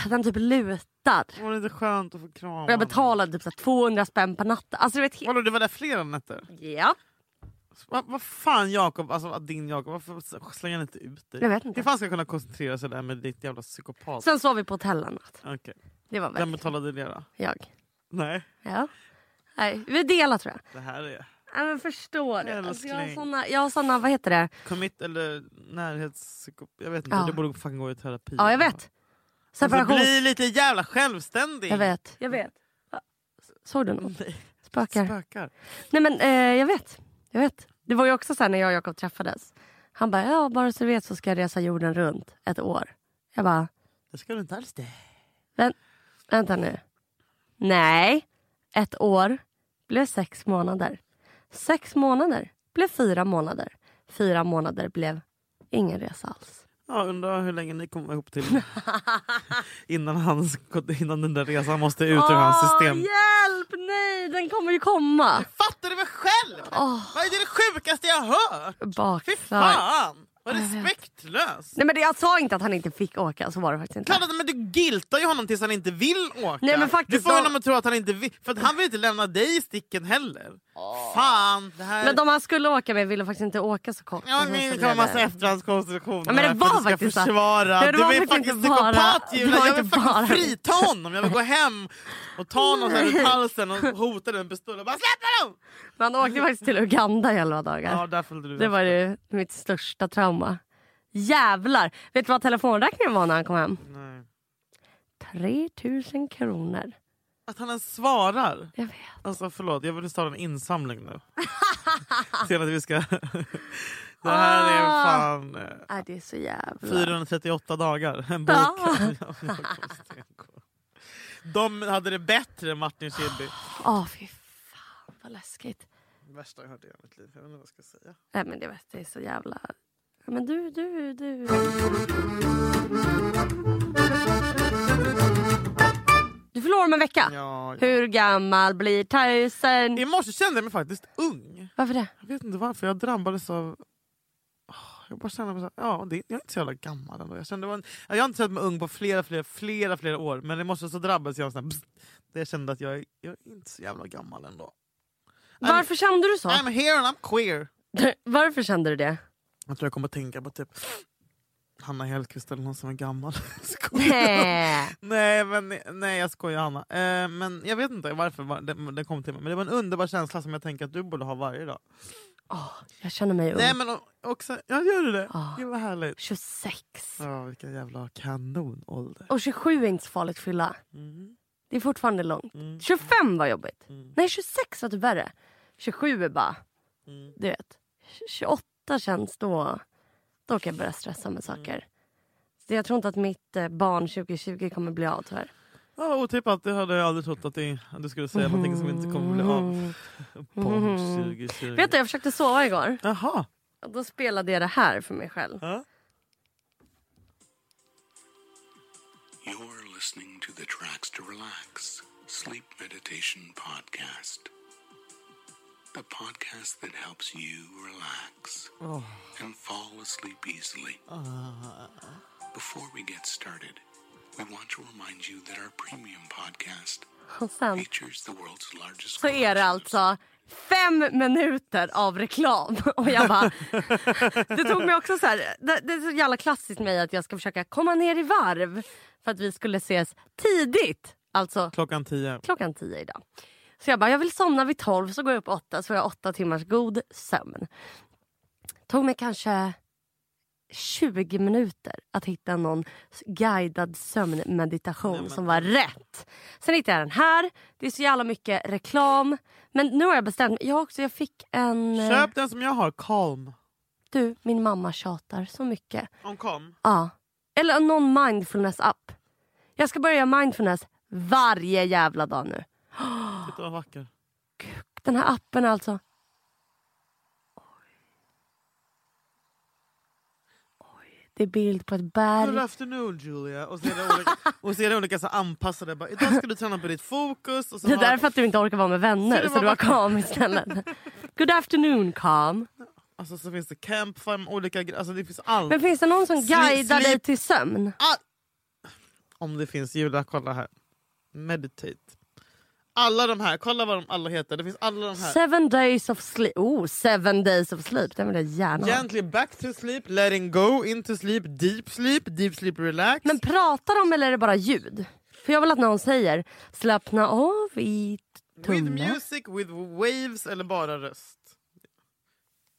S1: Den typ lutar.
S2: Var det inte skönt att få krama?
S1: Och jag betalade typ så här, 200 spänn per natt. Alltså, du vet, he-
S2: Vadå, du var där flera nätter?
S1: ja.
S2: Vad vad fan Jakob, alltså din Jakob, varför slänger han inte ut dig?
S1: Jag vet inte.
S2: Hur fan ska jag kunna koncentrera sig där med ditt jävla psykopat?
S1: Sen sov vi på hotell en natt.
S2: Okej.
S1: Det var
S2: Vem
S1: väl
S2: betalade det då?
S1: jag.
S2: Nej,
S1: Ja. Nej, vi delar tror jag.
S2: det här är
S1: Nej, men förstår du? Alltså, jag har
S2: Älskling.
S1: såna, jag har såna, vad heter det?
S2: commit eller närhetspsykop... Jag vet inte,
S1: Ja.
S2: du borde fan gå i terapi.
S1: Ja, jag vet.
S2: Alltså,
S1: Separations...
S2: bli lite jävla självständig.
S1: Jag vet. Jag vet. Såg du något?
S2: Nej,
S1: Spökar.
S2: Spökar.
S1: Nej men eh, jag vet. Jag vet. Det var ju också så här när jag och Jakob träffades. Han bara, ja bara så du vet så ska jag resa jorden runt ett år. Jag bara,
S2: Det ska du inte alls det.
S1: vänta nu. Nej, ett år blev sex månader. Sex månader blev fyra månader. Fyra månader blev ingen resa alls.
S2: Ja, undrar hur länge ni kommer vara ihop till innan, hans, innan den där resan måste ut ur hans system.
S1: hjälp! Nej, den kommer ju komma.
S2: Fattar du väl själv? Vad är det sjukaste jag har hört? Fy
S1: Bakslag.
S2: fan! Vad respektlöst!
S1: Nej men det, jag sa inte att han inte fick åka, så var det faktiskt inte.
S2: Klart att men du giltar ju honom tills han inte vill åka.
S1: Nej, men faktiskt
S2: du får
S1: då-
S2: honom att tro att han inte vill. För att han vill inte lämna dig i sticken heller. Fan! Det här...
S1: Men de han skulle åka med ville faktiskt inte åka så kort.
S2: Ja,
S1: Och så
S2: men det
S1: blev
S2: kommer en massa
S1: det-
S2: efterhandskonstruktioner
S1: Ja, men det
S2: här för
S1: var
S2: att du ska
S1: faktiskt så.
S2: försvara.
S1: Nej, det var
S2: du är
S1: faktiskt
S2: faktiskt
S1: inte bara-
S2: psykopat
S1: det
S2: Julia.
S1: var
S2: Jag vill
S1: inte
S2: faktiskt
S1: bara-
S2: frita honom. Jag vill gå hem och ta någon här ur halsen och hota den med pistol och bara släpp honom!
S1: Men han åkte faktiskt till Uganda i elva dagar.
S2: Ja, där följde du
S1: det var ju mitt största trauma. Jävlar! Vet du vad telefonräkningen var när han kom hem?
S2: Nej.
S1: 3000 kronor.
S2: Att han ens svarar.
S1: Jag vet.
S2: Alltså förlåt, jag vill starta en insamling nu. Sen att vi ska... det här är fan eh,
S1: Äh, det är så jävla...
S2: 438 dagar. En bok.
S1: Ja.
S2: av Jakob Stenko. De hade det bättre än Martin Schibbye.
S1: Åh, fy fan vad läskigt.
S2: Värsta jag hört i hela mitt liv. Jag vet inte vad jag ska säga.
S1: Nej, men det, vet, det är så jävla... Ja, Men du, du, du. Du förlorar om en vecka.
S2: Ja, ja.
S1: Hur gammal blir Tyson?
S2: I morse kände jag mig faktiskt ung.
S1: Varför det?
S2: Jag vet inte varför. Jag drabbades av... Ah, Jag bara kände mig så här, ja, det, jag är inte så jävla gammal ändå. Jag, kände, det var en, jag har inte känt mig ung på flera, flera, flera, flera år. Men i morse så drabbades jag av sån här... pssst, Där jag kände att jag, är- jag är inte så jävla gammal ändå.
S1: Varför kände du så?
S2: I'm here and I'm queer.
S1: Varför kände du det?
S2: Jag tror jag kommer att tänka på typ Hanna Hellquist eller någon som är gammal. Skojar.
S1: Nej.
S2: nej, men, nej, jag skojar Hanna. Eh, men jag vet inte varför var- det, det kom till mig. Men det var en underbar känsla som jag tänker att du borde ha varje dag.
S1: Jag känner mig ung.
S2: Nej men o- också, ja gör du det?
S1: Ja.
S2: Gud vad härligt.
S1: 26.
S2: Ja, vilken jävla kanonålder.
S1: Och 27 är inte så farligt att fylla.
S2: Mm.
S1: Det är fortfarande långt.
S2: Mm.
S1: 25 var jobbigt.
S2: Mm.
S1: Nej 26 var typ värre. 27 är bara,
S2: Mm.
S1: du vet. 28 känns då, då kan jag börja stressa med saker. Så jag tror inte att mitt eh, barn 2020 kommer bli av tyvärr.
S2: Ja, otippat, det hade jag aldrig trott att, det, att du skulle säga någonting som inte kommer bli av. Barn 2020.
S1: Vet du, jag försökte sova igår.
S2: Jaha.
S1: Och då spelade jag det här för mig själv.
S2: Ja.
S5: You're listening to the Tracks to Relax Sleep Meditation Podcast. The podcast that helps you relax and fall asleep easily. Before we get started, we want to remind you that our premium podcast
S1: Och sen
S5: features the world's largest
S1: så är det alltså fem minuter av reklam. Och jag bara, det tog mig också så här, det, det är så jävla klassiskt med mig att jag ska försöka komma ner i varv för att vi skulle ses tidigt. Alltså
S2: Klockan tio.
S1: klockan tio idag. Så jag bara, jag vill somna vid tolv så går jag upp åtta så får jag åtta timmars god sömn. Tog mig kanske 20 minuter att hitta någon guidad sömnmeditation som var rätt. Sen hittade jag den här. Det är så jävla mycket reklam. Men nu har jag bestämt mig. Jag, också, jag fick en... eh,
S2: Köp den som jag har, Calm.
S1: Du, min mamma tjatar så mycket.
S2: Om Calm?
S1: Ja. Eller någon mindfulness-app. Jag ska börja göra mindfulness varje jävla dag nu.
S2: Titta vad vacker.
S1: Den här appen alltså. Oj. Oj, Det är bild på ett
S2: Good
S1: berg.
S2: afternoon Julia. Och så är det olika, och så är det olika så här anpassade. Bara, Idag ska du träna på ditt fokus. Och så
S1: Det är
S2: har-
S1: därför att du inte orkar vara med
S2: Så
S1: vänner
S2: det
S1: så
S2: var
S1: du har
S2: bara-
S1: kam istället. Good afternoon kam.
S2: alltså, så finns det campfire, olika gre- alltså, det finns allt.
S1: Men finns det någon som
S2: Sli-
S1: guidar dig
S2: slip-
S1: till sömn?
S2: Om det finns, Julia kolla här. Meditate. Alla de här, kolla vad de alla heter. Det finns alla de här.
S1: Seven days of sleep. Oh, seven days of sleep. Den vill jag gärna ha.
S2: Gently back to sleep, letting go, into sleep, deep sleep, deep sleep relax.
S1: Men pratar de eller är det bara ljud? För jag vill att någon säger slappna av i
S2: with
S1: tunna.
S2: music, with waves eller bara röst.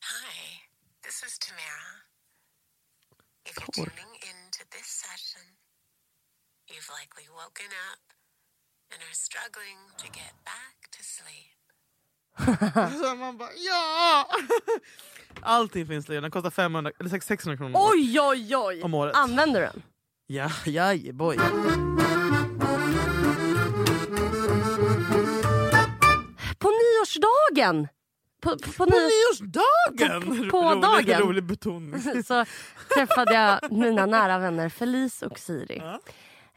S6: Hi, this is Tamara. If you're tuning in to this session, you've likely woken up and are struggling to get back to sleep.
S2: Så man bara ja! Allting finns redan, den kostar 500, eller 600 kronor om året.
S1: Oj, oj, oj!
S2: Om året.
S1: Använder du den?
S2: Ja, ja, boy.
S1: På nyårsdagen! På, på,
S2: På
S1: på nyårs...
S2: nyårsdagen!
S1: På- på
S2: Rolig-
S1: dagen.
S2: Rolig betoning.
S1: så träffade jag mina nära vänner Felice och Siri.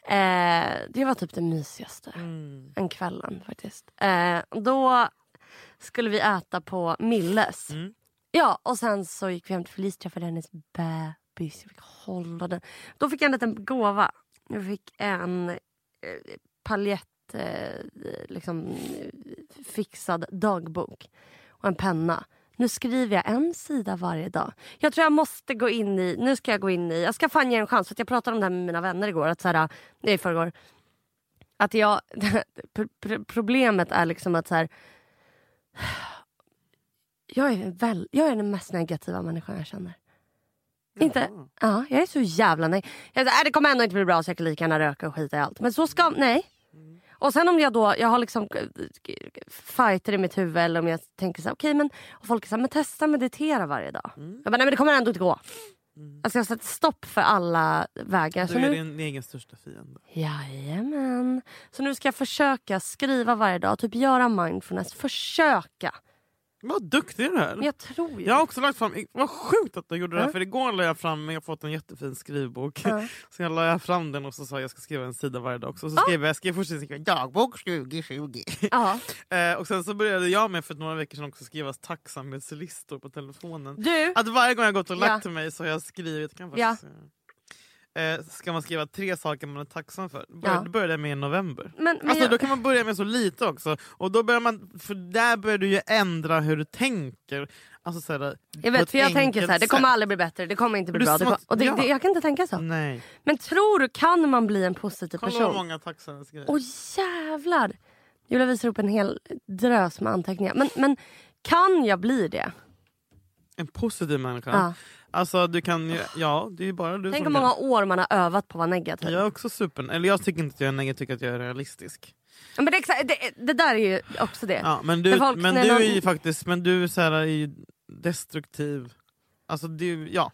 S1: Eh, det var typ det mysigaste en kvällen faktiskt. Eh, då skulle vi äta på Milles. Ja, och sen så gick vi hem till Felice och träffade hennes bebis. Jag fick hålla den. Då fick jag en liten gåva. Jag fick en eh, paljett, eh, liksom, eh, fixad dagbok och en penna. Nu skriver jag en sida varje dag. Jag tror jag måste gå in i, nu ska jag gå in i, jag ska fan ge en chans. För att jag pratade om det här med mina vänner igår, att så här, nej i förrgår. Att jag, pro- pro- problemet är liksom att så här, jag är, väl, jag är den mest negativa människan jag känner. Inte, ja, jag är så jävla nej. Jag är så, äh, det kommer ändå inte bli bra så jag kan lika gärna röka och skita i allt. Men så ska, nej.
S2: Mm.
S1: Och sen om jag då, jag har liksom eh, fighter i mitt huvud eller om jag tänker så här, okej men och folk är så här, men testa meditera varje dag.
S2: Mm.
S1: Jag bara, nej men det kommer ändå inte gå. Alltså jag sätter stopp för alla vägar. Så
S2: Du är
S1: nu,
S2: din egen största fiende.
S1: jajamän. Så nu ska jag försöka skriva varje dag, typ göra mindfulness, försöka.
S2: Vad duktig du är.
S1: Men jag tror ju
S2: Jag har också lagt fram, vad sjukt att du gjorde det här,
S1: Ja.
S2: för igår la jag fram, jag har fått en jättefin skrivbok. Så jag la jag fram den och så sa jag, jag ska skriva en sida varje dag också. Så skrev jag, jag skrev först jag skrev, dagbok 2020.
S1: Ja.
S2: eh, och sen så började jag med för några veckor sedan också skriva tacksamhetslistor på telefonen.
S1: Du!
S2: Att varje gång jag gått och
S1: Ja.
S2: lagt mig så har jag skrivit, kan jag faktiskt säga. eh, ska man skriva tre saker man är tacksam för. Bör,
S1: Ja.
S2: Det började jag med i november.
S1: Men, men
S2: Alltså,
S1: jag,
S2: Då kan man börja med så lite också. Och då börjar man, för där börjar du ju ändra hur du tänker. Alltså, så här,
S1: jag
S2: på
S1: vet,
S2: ett
S1: för jag tänker så här, det
S2: enkelt
S1: kommer
S2: sätt.
S1: aldrig bli bättre, det kommer inte bli
S2: Du
S1: bra. Det kommer,
S2: smått-
S1: och det,
S2: ja.
S1: det, jag kan inte tänka så.
S2: Nej.
S1: Men tror du, kan man bli en positiv
S2: Kolla
S1: person?
S2: hur många tacksamhetsgrejer.
S1: Åh jävlar! Julia visar upp en hel drös med anteckningar. Men, men kan jag bli det?
S2: En positiv människa.
S1: Ja.
S2: Alltså, du kan ju, ja, det är ju bara du
S1: Tänk
S2: som
S1: hur många år man har övat på att vara
S2: kan.
S1: negativ.
S2: Jag är också super... Eller jag tycker inte att jag är negativ, jag tycker att jag är realistisk.
S1: Men det, är exakt- det, det där är ju också det.
S2: Ja, men
S1: När
S2: du,
S1: folk-
S2: men
S1: när
S2: du
S1: någon-
S2: är ju faktiskt men du är så här, är ju destruktiv. Alltså du, ja.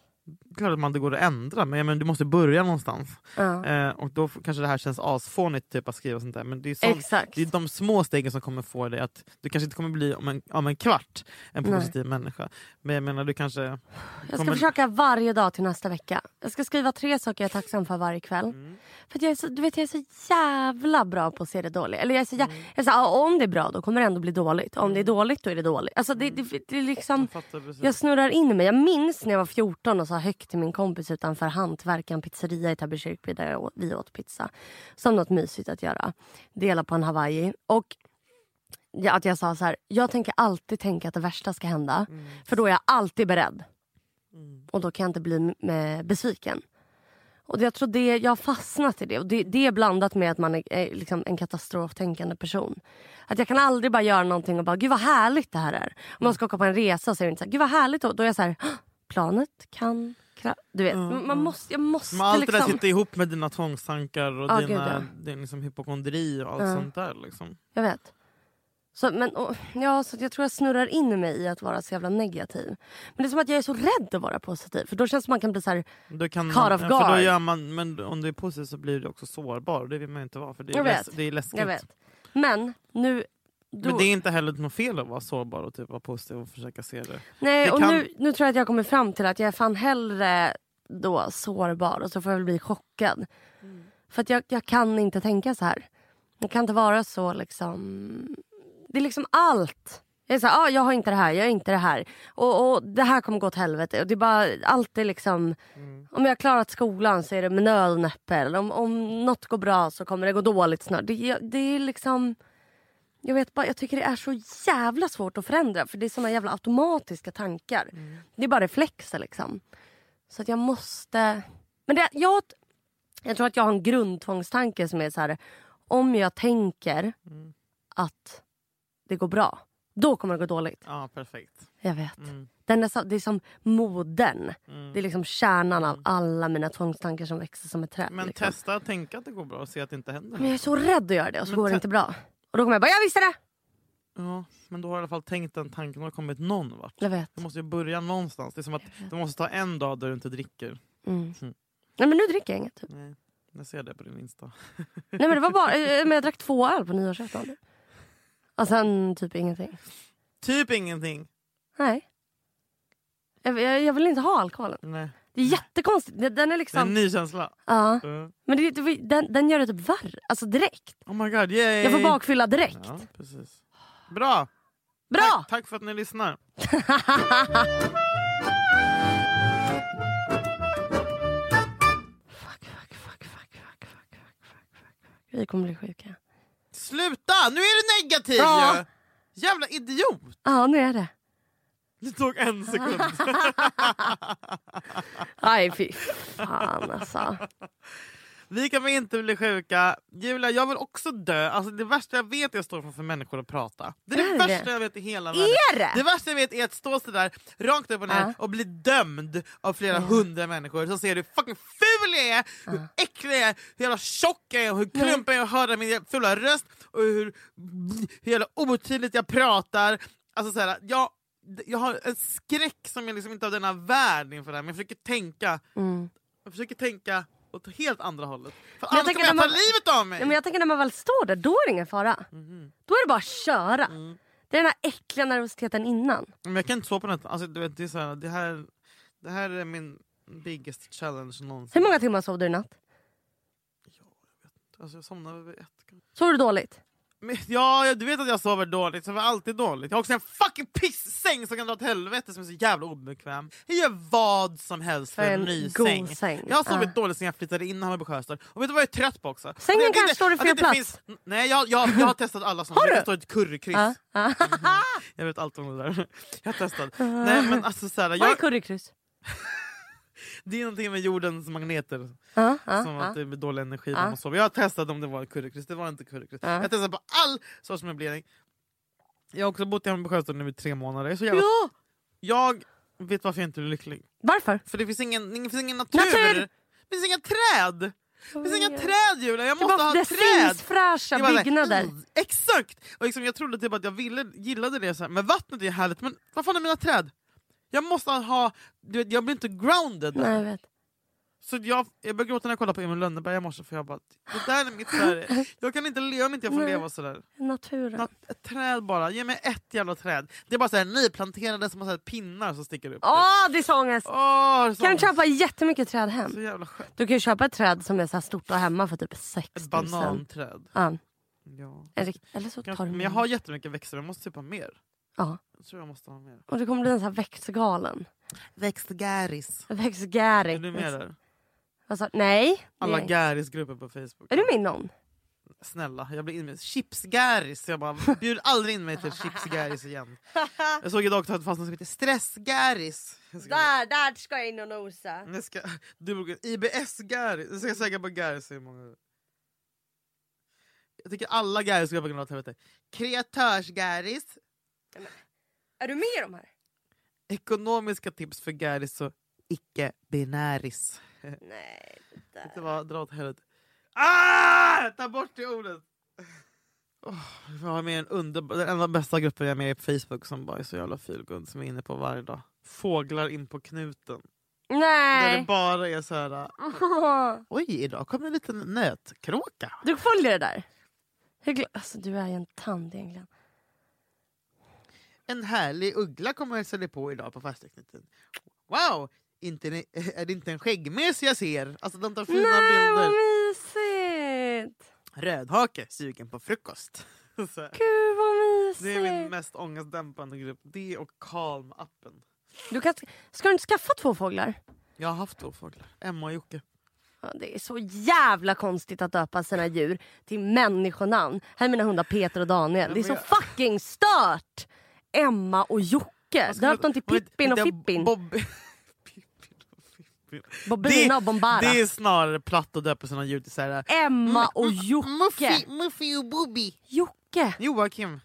S2: Klart att man inte går att ändra men, jag menar, du måste börja någonstans.
S1: Ja.
S2: Eh, och då f- kanske det här känns asfånigt typ, att skriva sånt där men det är, sånt,
S1: Exakt.
S2: det är de små stegen som kommer få dig att du kanske inte kommer bli om en, om en kvart en
S1: Nej.
S2: positiv människa. Men jag menar du kanske...
S1: Jag ska
S2: kommer-
S1: försöka varje dag till nästa vecka. Jag ska skriva tre saker jag är tacksam för varje kväll.
S2: Mm.
S1: För att jag, är så, du vet, jag är så jävla bra på att se det dåligt. Eller jag är så, jä-
S2: Mm.
S1: jag är så, ah, om det är bra då kommer det ändå bli dåligt. Om det är dåligt då är det dåligt. Alltså, det, det, det, är liksom,
S2: Jag fattar precis.
S1: jag snurrar in mig. Jag minns när jag var 14 och sa högt till min kompis utanför hantverkan pizzeria i Täby kyrkby där jag åt, vi åt pizza. Som något mysigt att göra. Dela på en hawaii. Och ja, att jag sa så här, jag tänker alltid tänka att det värsta ska hända. För då är jag alltid beredd. Och då kan jag inte bli m- eh, besviken. Och jag tror det, jag har fastnat i det. Och det, det är blandat med att man är, är liksom en katastroftänkande person. Att jag kan aldrig bara göra någonting och bara, gud vad härligt det här är. Om man ska åka på en resa så är det inte så här, gud vad härligt. Då, då är jag så här, "Hå! planet kan... kra-" Du vet, man måste, jag måste
S2: Men allt det där
S1: liksom...
S2: sitter ihop med dina tvångstankar och
S1: Ja,
S2: dina,
S1: gud,
S2: din liksom hypokondri och allt
S1: Ja.
S2: sånt där. Liksom.
S1: Jag vet. Så, men, och, ja, så att jag tror jag snurrar in mig i att vara så jävla negativ. Men det är som att jag är så rädd att vara positiv. För då känns det som man kan bli så här...
S2: Då kan man,
S1: Caught off
S2: ja, för
S1: guard.
S2: då gör man, men om du är positiv så blir du också sårbar och det vill man ju inte vara för det är,
S1: Jag
S2: läs,
S1: vet.
S2: det är läskigt.
S1: Jag vet. Men nu... Då,
S2: Men det är inte heller något fel att vara sårbar och typ vara positiv och försöka se det.
S1: nej,
S2: det
S1: och
S2: kan-
S1: nu, nu tror jag att jag kommer fram till att jag är fan hellre då sårbar och så får jag väl bli chockad.
S2: Mm.
S1: För att jag, jag kan inte tänka så här. Jag kan inte vara så liksom... Det är liksom allt. Jag är så här, ah, jag har inte det här, jag har inte det här. Och, och det här kommer gå åt helvete. Och det är bara, allt är liksom...
S2: Mm.
S1: Om jag har klarat skolan så är det med nöd och näppe. Eller Om, om något går bra så kommer det gå dåligt snart. Det, det är liksom... Jag vet bara, jag tycker det är så jävla svårt att förändra. För det är såna jävla automatiska tankar. Det är bara reflexer liksom. Så att jag måste... Men det, jag, jag tror att jag har en Mm. grundtvångstanke som är så här. Om jag tänker att det går bra Då kommer det gå dåligt.
S2: Ja, perfekt.
S1: Jag vet. Den är så, det är som moden. Det är liksom kärnan av alla mina tvångstankar som växer som ett träd.
S2: Men
S1: liksom.
S2: testa att tänka att det går bra och se att det inte händer.
S1: Men jag är så rädd att göra det och så
S2: Men
S1: går det
S2: te-
S1: inte bra. Och då kommer jag bara, jag visste det!
S2: Ja, men då har jag i alla fall tänkt den tanken och har kommit någon vart.
S1: Jag vet.
S2: Du måste ju börja någonstans. Det är som att du måste ta en dag där du inte dricker.
S1: Nej men nu dricker jag inget. Typ.
S2: Nej, jag ser det på din Insta.
S1: Nej men det var bara, eh, men jag drack två öl på nyårsafton. Och sen typ ingenting.
S2: Typ ingenting.
S1: Nej. Jag, jag, jag vill inte ha alkoholen.
S2: Nej.
S1: Det är jättekonstigt. Den- Den är
S2: Det är en
S1: liksom...
S2: ny känsla.
S1: Ja.
S2: Uh.
S1: Men det, det, den, den gör det typ värre. Alltså direkt.
S2: Oh my god, yay!
S1: Jag får bakfylla direkt.
S2: Ja, precis. Bra!
S1: Bra!
S2: Tack, tack för att ni lyssnar.
S1: Fuck, fuck, fuck, fuck, fuck, fuck, fuck, fuck, fuck, fuck. Vi kommer bli sjuka.
S2: Sluta! Nu är du negativ
S1: Ja.
S2: ju! Jävla idiot!
S1: Ja, nu är det.
S2: Det tog en sekund.
S1: Aj, fy fan alltså.
S2: Vi kommer inte bli sjuka. Julia, jag vill också dö. Alltså, det värsta jag vet är att stå framför människor och prata. Det är det
S1: Är det?
S2: värsta jag vet i hela världen.
S1: Är det?
S2: Det värsta jag vet är att stå sådär rakt upp och ner
S1: Ja.
S2: och bli dömd av flera hundra människor som ser hur fucking ful jag är, hur äcklig jag är, hur jävla tjock jag är, och hur klumpig jag är och hör min fula röst och hur, hur jävla otydligt jag pratar. Alltså såhär, jag, jag har en skräck som jag liksom inte har denna värld inför det här men jag försöker tänka jag försöker tänka åt helt andra hållet. För
S1: Men jag
S2: annars kommer
S1: tänker
S2: jag
S1: när
S2: ta
S1: man-
S2: livet av mig!
S1: Nej, men jag tänker när man väl står där, då är det ingen fara.
S2: Mhm.
S1: Då är det bara att köra.
S2: Mm.
S1: Det är den här äckliga nervositeten innan.
S2: Men jag kan inte sova på natten. Alltså, du vet, det, är så här, det, här, det här är min biggest challenge någonsin.
S1: Hur många timmar sov du i natt?
S2: Alltså, jag somnade vid ett. kanske.
S1: Sov du dåligt?
S2: Men, ja, jag- du vet att jag sover dåligt. Jag sover alltid dåligt. Jag har också en fucking pissäng som kan dra åt helvete som är så jävla obekväm. Jag gör vad som helst för,
S1: För
S2: en
S1: en
S2: ny
S1: god
S2: säng.
S1: säng.
S2: Jag har sovit
S1: Ah.
S2: dåligt sen jag flyttade in här på Sjöstad. Och vet du vad jag är trött på också?
S1: Sängen
S2: Att det-
S1: kanske
S2: det-
S1: står i
S2: att
S1: fel
S2: det inte
S1: plats.
S2: Finns, nej, jag, jag, jag har testat alla sådana.
S1: Har
S2: Det
S1: du?
S2: kan stå ett currykryss. Mhm.
S1: Ja. Ja.
S2: Jag vet allt om det där. Jag har testat. Nej, men alltså, så här,
S1: Vad är
S2: jag,
S1: currykryss?
S2: det är någonting med jordens magneter
S1: Ja, ja,
S2: som
S1: ja.
S2: att det blir dålig energi när man sover. Jag har testat om det var currykryss, det var inte currykryss. Jag har testat på all sorts möblering. Jag har också bott hemma på Sjöstad nu i tre månader. Jag, är så jävla...
S1: Ja.
S2: jag vet varför jag inte är lycklig.
S1: Varför?
S2: För det finns ingen, ingen, finns ingen natur.
S1: Natur!
S2: Det finns inga träd! Det finns inga
S1: vet.
S2: träd Julia, jag
S1: Det,
S2: måste
S1: bara,
S2: ha
S1: det
S2: träd!
S1: finns fräscha
S2: Det var så här,
S1: byggnader.
S2: "Ugh." Exakt! Och liksom, jag trodde typ att jag ville, gillade det, så här. men vattnet är ju härligt, men vad fan är mina träd? Jag måste ha... Du vet, jag blir inte grounded.
S1: Nej, jag vet.
S2: Så jag, jag började gråta när jag kollade på Emil Lönneberga i morse för jag bara, det där är mitt Sverige. Jag kan inte leva om inte jag får
S1: Nej.
S2: leva sådär.
S1: Naturen.
S2: Nat- Ett träd bara, ge mig ett jävla träd. Det är bara såhär nyplanterade små så här pinnar som sticker upp. typ.
S1: Åh, det är så ångest!
S2: Åh, det är så-
S1: Kan du köpa jättemycket träd hem?
S2: Så jävla skönt.
S1: Du kan ju köpa ett träd som är så här stort och hemma för typ 6 000.
S2: Ett bananträd.
S1: Ja,
S2: Ja.
S1: en rikt- eller så
S2: Kanske-
S1: tar du
S2: Men jag har jättemycket växter, men jag måste typ ha mer.
S1: Ja.
S2: Jag tror jag måste ha mer.
S1: Och det kommer bli en sån här växtgalen.
S2: Växtgäris.
S1: Växtgäring.
S2: Är du med där?
S1: Vad sa- Alltså, Nej.
S2: Alla
S1: nej.
S2: gärisgrupper på Facebook.
S1: Är du med i någon?
S2: Snälla, jag blir inbjuden. Chipsgäris! Jag bara, bjud aldrig in mig till chipsgäris igen. Jag såg idag att det fanns något som heter stressgäris. Jag ska-
S1: Där, där ska jag in och nosa.
S2: Jag ska, du, IBS-gäris. Jag ska söka på gäris hur många... Jag tycker alla gäris ska på grund av helvete. Kreatörsgäris.
S1: Är du med i de här?
S2: Ekonomiska tips för gäris och icke-binäris.
S1: Nej. det
S2: Vet
S1: där.
S2: du vad? Dra åt helvete. Ah! Ta bort det ordet! Åh, jag har med en underbar, den enda bästa gruppen jag är med i på Facebook som bara är så jävla feelgood som jag är inne på varje dag. Fåglar in på knuten. Där det
S1: Nej.
S2: bara är så här. Oj, idag kom en liten nötkråka.
S1: Du följer det där? Hur gl- Alltså du är ju en tand egentligen.
S2: En härlig uggla kommer och hälsade på idag på fastighetsknuten. Wow! Inte, en- är det inte en skäggmös jag ser? Alltså de tar fina
S1: Nej vad
S2: bilder.
S1: mysigt.
S2: Rödhake, sugen på frukost. Så här.
S1: Gud vad mysigt.
S2: Det är min mest ångestdämpande grupp. Det och Calm-appen.
S1: Du kan, ska du inte skaffa två fåglar?
S2: Jag har haft två fåglar. Emma och Jocke.
S1: Ja, Det är så jävla konstigt att döpa sina djur till människonamn. Här är mina hundar Peter och Daniel. Det är så fucking stört! Emma och Jocke. Döpt dem till Pippin och Fippin.
S2: Bob- Pippin och Fippin.
S1: Bobbina och Bombara.
S2: Det är snarare platt att döpa sina djur till så här. eh, mm,
S1: Emma och Jocke.
S2: Muffy och Bobby.
S1: Jocke.
S2: Joakim.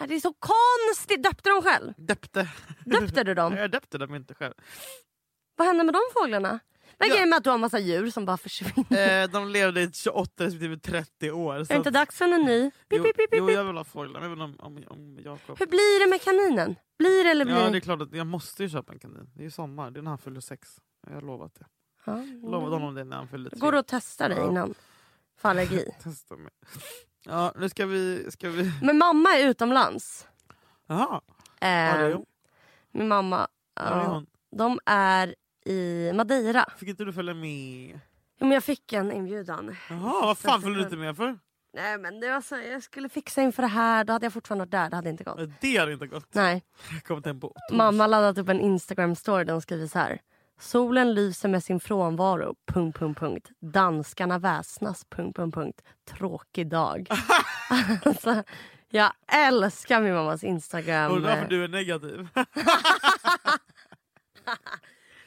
S1: Nej, Det är så konstigt. Döpte de själv?
S2: Döpte.
S1: Döpte du dem?
S2: Jag döpte dem inte själv.
S1: Vad hände med de fåglarna? Vad är
S2: Ja.
S1: grejen med att du har en massa djur som bara försvinner?
S2: Eh, de levde i 28 respektive 30 år.
S1: Är det
S2: Så
S1: inte
S2: att-
S1: dags för en ny? Pip,
S2: jo,
S1: pip, pip, pip,
S2: jo,
S1: pip.
S2: jag vill ha fåglar. Jag vill ha om, om, om Jakob.
S1: Hur blir det med kaninen? Blir det eller blir
S2: Ja,
S1: det
S2: det är
S1: inte?
S2: klart att jag måste ju köpa en kanin. Det är ju sommar. Det är när han fyller sex. Jag har lovat det.
S1: Ja,
S2: Jag lovade honom det när han fyllde tre.
S1: Mm. Går det att testa dig
S2: Ja.
S1: innan? För allergi.
S2: Testa mig. Ja, nu ska vi... Ska vi...
S1: Men mamma är utomlands.
S2: Jaha,
S1: Eh,
S2: var det hon?
S1: min mamma.
S2: Var det
S1: ja,
S2: hon?
S1: de är i Madeira.
S2: Fick inte du följa med?
S1: Jo, men jag fick en inbjudan.
S2: Jaha, vad fan följde du inte med för?
S1: Nej men det var så, jag skulle fixa inför det här. Då hade jag fortfarande varit där. Det hade inte gått.
S2: Det hade inte gått.
S1: Nej.
S2: Jag kom hem på
S1: Mamma laddat upp en Instagram-story där hon skriver så här. Solen lyser med sin frånvaro. Punkt, punkt, punkt. Danskarna väsnas. Punkt, punkt, punkt. Tråkig dag. alltså, jag älskar min mammas Instagram.
S2: Undrar varför du är negativ.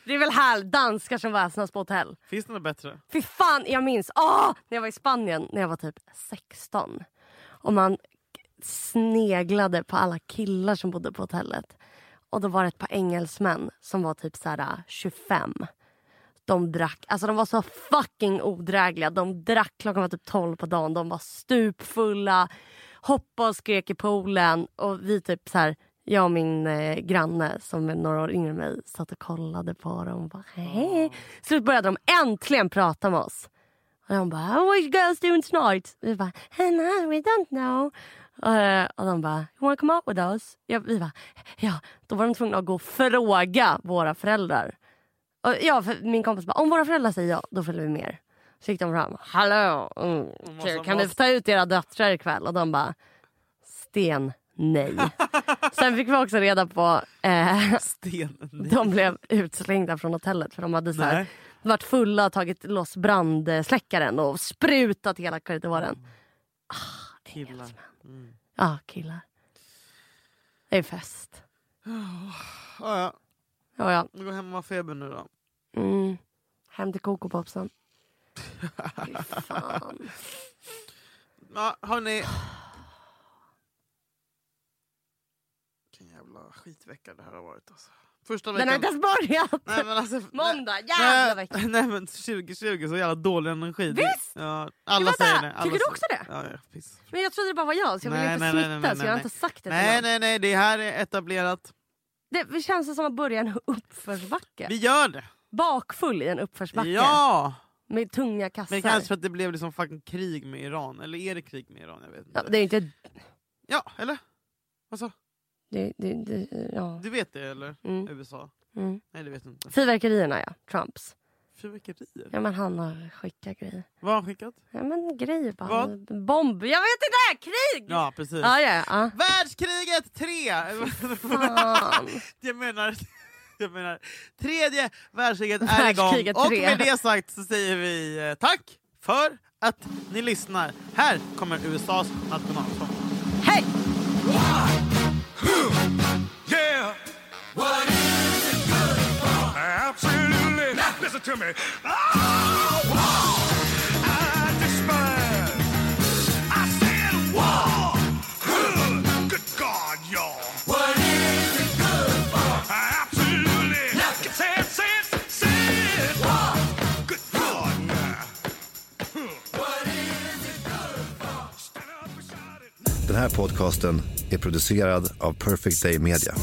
S1: Det är väl här danskar som väsnas på hotell.
S2: Finns det något bättre?
S1: Fy fan, jag minns ah, när jag var i Spanien när jag var typ 16. Och man sneglade på alla killar som bodde på hotellet. Och då var det ett par engelsmän som var typ så här 25. De drack, alltså de var så fucking odrägliga. De drack klockan var typ 12 på dagen. De var stupfulla, hoppade och skrek i poolen. Och vi typ så här, jag och min eh, granne som är några år yngre än mig satt och kollade på dem. Och bara, hej. Så började de äntligen prata med oss. Och de bara, "Oh, what you guys doing tonight? Vi bara, "Eh, no, we don't know. Eh, och de bara, you wanna come out with us? Ja, vi bara, ja. Då var de tvungna att gå och fråga våra föräldrar. Och ja, för min kompis bara, om våra föräldrar säger ja, då följer vi med er. Så gick de fram, hallå, mm,
S2: Måste-
S1: kan ni
S2: måste-
S1: ta ut era döttrar ikväll? Och de bara, sten nej. Sen fick vi också reda på, eh,
S2: Sten.
S1: de blev utslängda från hotellet för de hade så här,
S2: Nej.
S1: varit fulla, tagit loss brandsläckaren och sprutat hela korridoren.
S2: Killar.
S1: Ja, killar. Det är fest.
S2: Ja, ja.
S1: Ja, ja.
S2: Vi går hem och har feber nu då.
S1: Mm. Hem till kokopopsen. Fy fan.
S2: Ja, hörni. Vilken jävla skitvecka det här har varit alltså. Första
S1: Den
S2: veckan...
S1: har inte ens börjat!
S2: Nej, men alltså,
S1: Måndag, jävla
S2: nej,
S1: vecka!
S2: nej, nej men 2020, så jävla dålig energi.
S1: Visst!
S2: Ja, alla
S1: vänta,
S2: säger det. Alla
S1: tycker du
S2: säger-
S1: också det?
S2: Ja, ja, visst.
S1: Men jag trodde det bara var jag så jag ville
S2: Nej,
S1: inte
S2: nej, nej,
S1: smitta
S2: nej,
S1: så jag har
S2: nej,
S1: inte sagt det till
S2: Nej,
S1: någon.
S2: nej, nej, det här är etablerat.
S1: Det känns som att börja en uppförsbacke.
S2: Vi gör det!
S1: Bakfull i en uppförsbacke
S2: Ja!
S1: med tunga kassar.
S2: Men kanske för att det blev liksom fucking krig med Iran. Eller är det krig med Iran? Jag vet
S1: ja,
S2: inte.
S1: det är inte...
S2: Ja, eller? Vad sa?
S1: Det, det, det, ja.
S2: Du vet det eller?
S1: Mm.
S2: USA?
S1: Mm.
S2: Nej, det vet du inte.
S1: Fyrverkerierna ja, Trumps.
S2: Fyrverkerier?
S1: Ja men han har skickat grejer.
S2: Vad har han skickat?
S1: Ja men grejer bara.
S2: Vad?
S1: Bomb. Jag vet inte! Krig!
S2: Ja, precis.
S1: Ja, ja, ja.
S2: Världskriget 3!
S1: Fan.
S2: jag menar... Jag menar, tredje världskriget är igång.
S1: Världskriget
S2: Och
S1: tre.
S2: med det sagt så säger vi eh, tack för att ni lyssnar. Här kommer USAs nationalsång.
S1: Hej!
S7: Yeah. What is it good for? Absolutely. Listen to me. Oh, war. I despise. I said war. Huh. Good God, y'all. What is it good for? Absolutely. Nothing. Say it, say it, say it. War. Good God, now. Huh. What is it good for? Stand up and shout it.
S8: Den här podcasten är producerad av Perfect Day Media.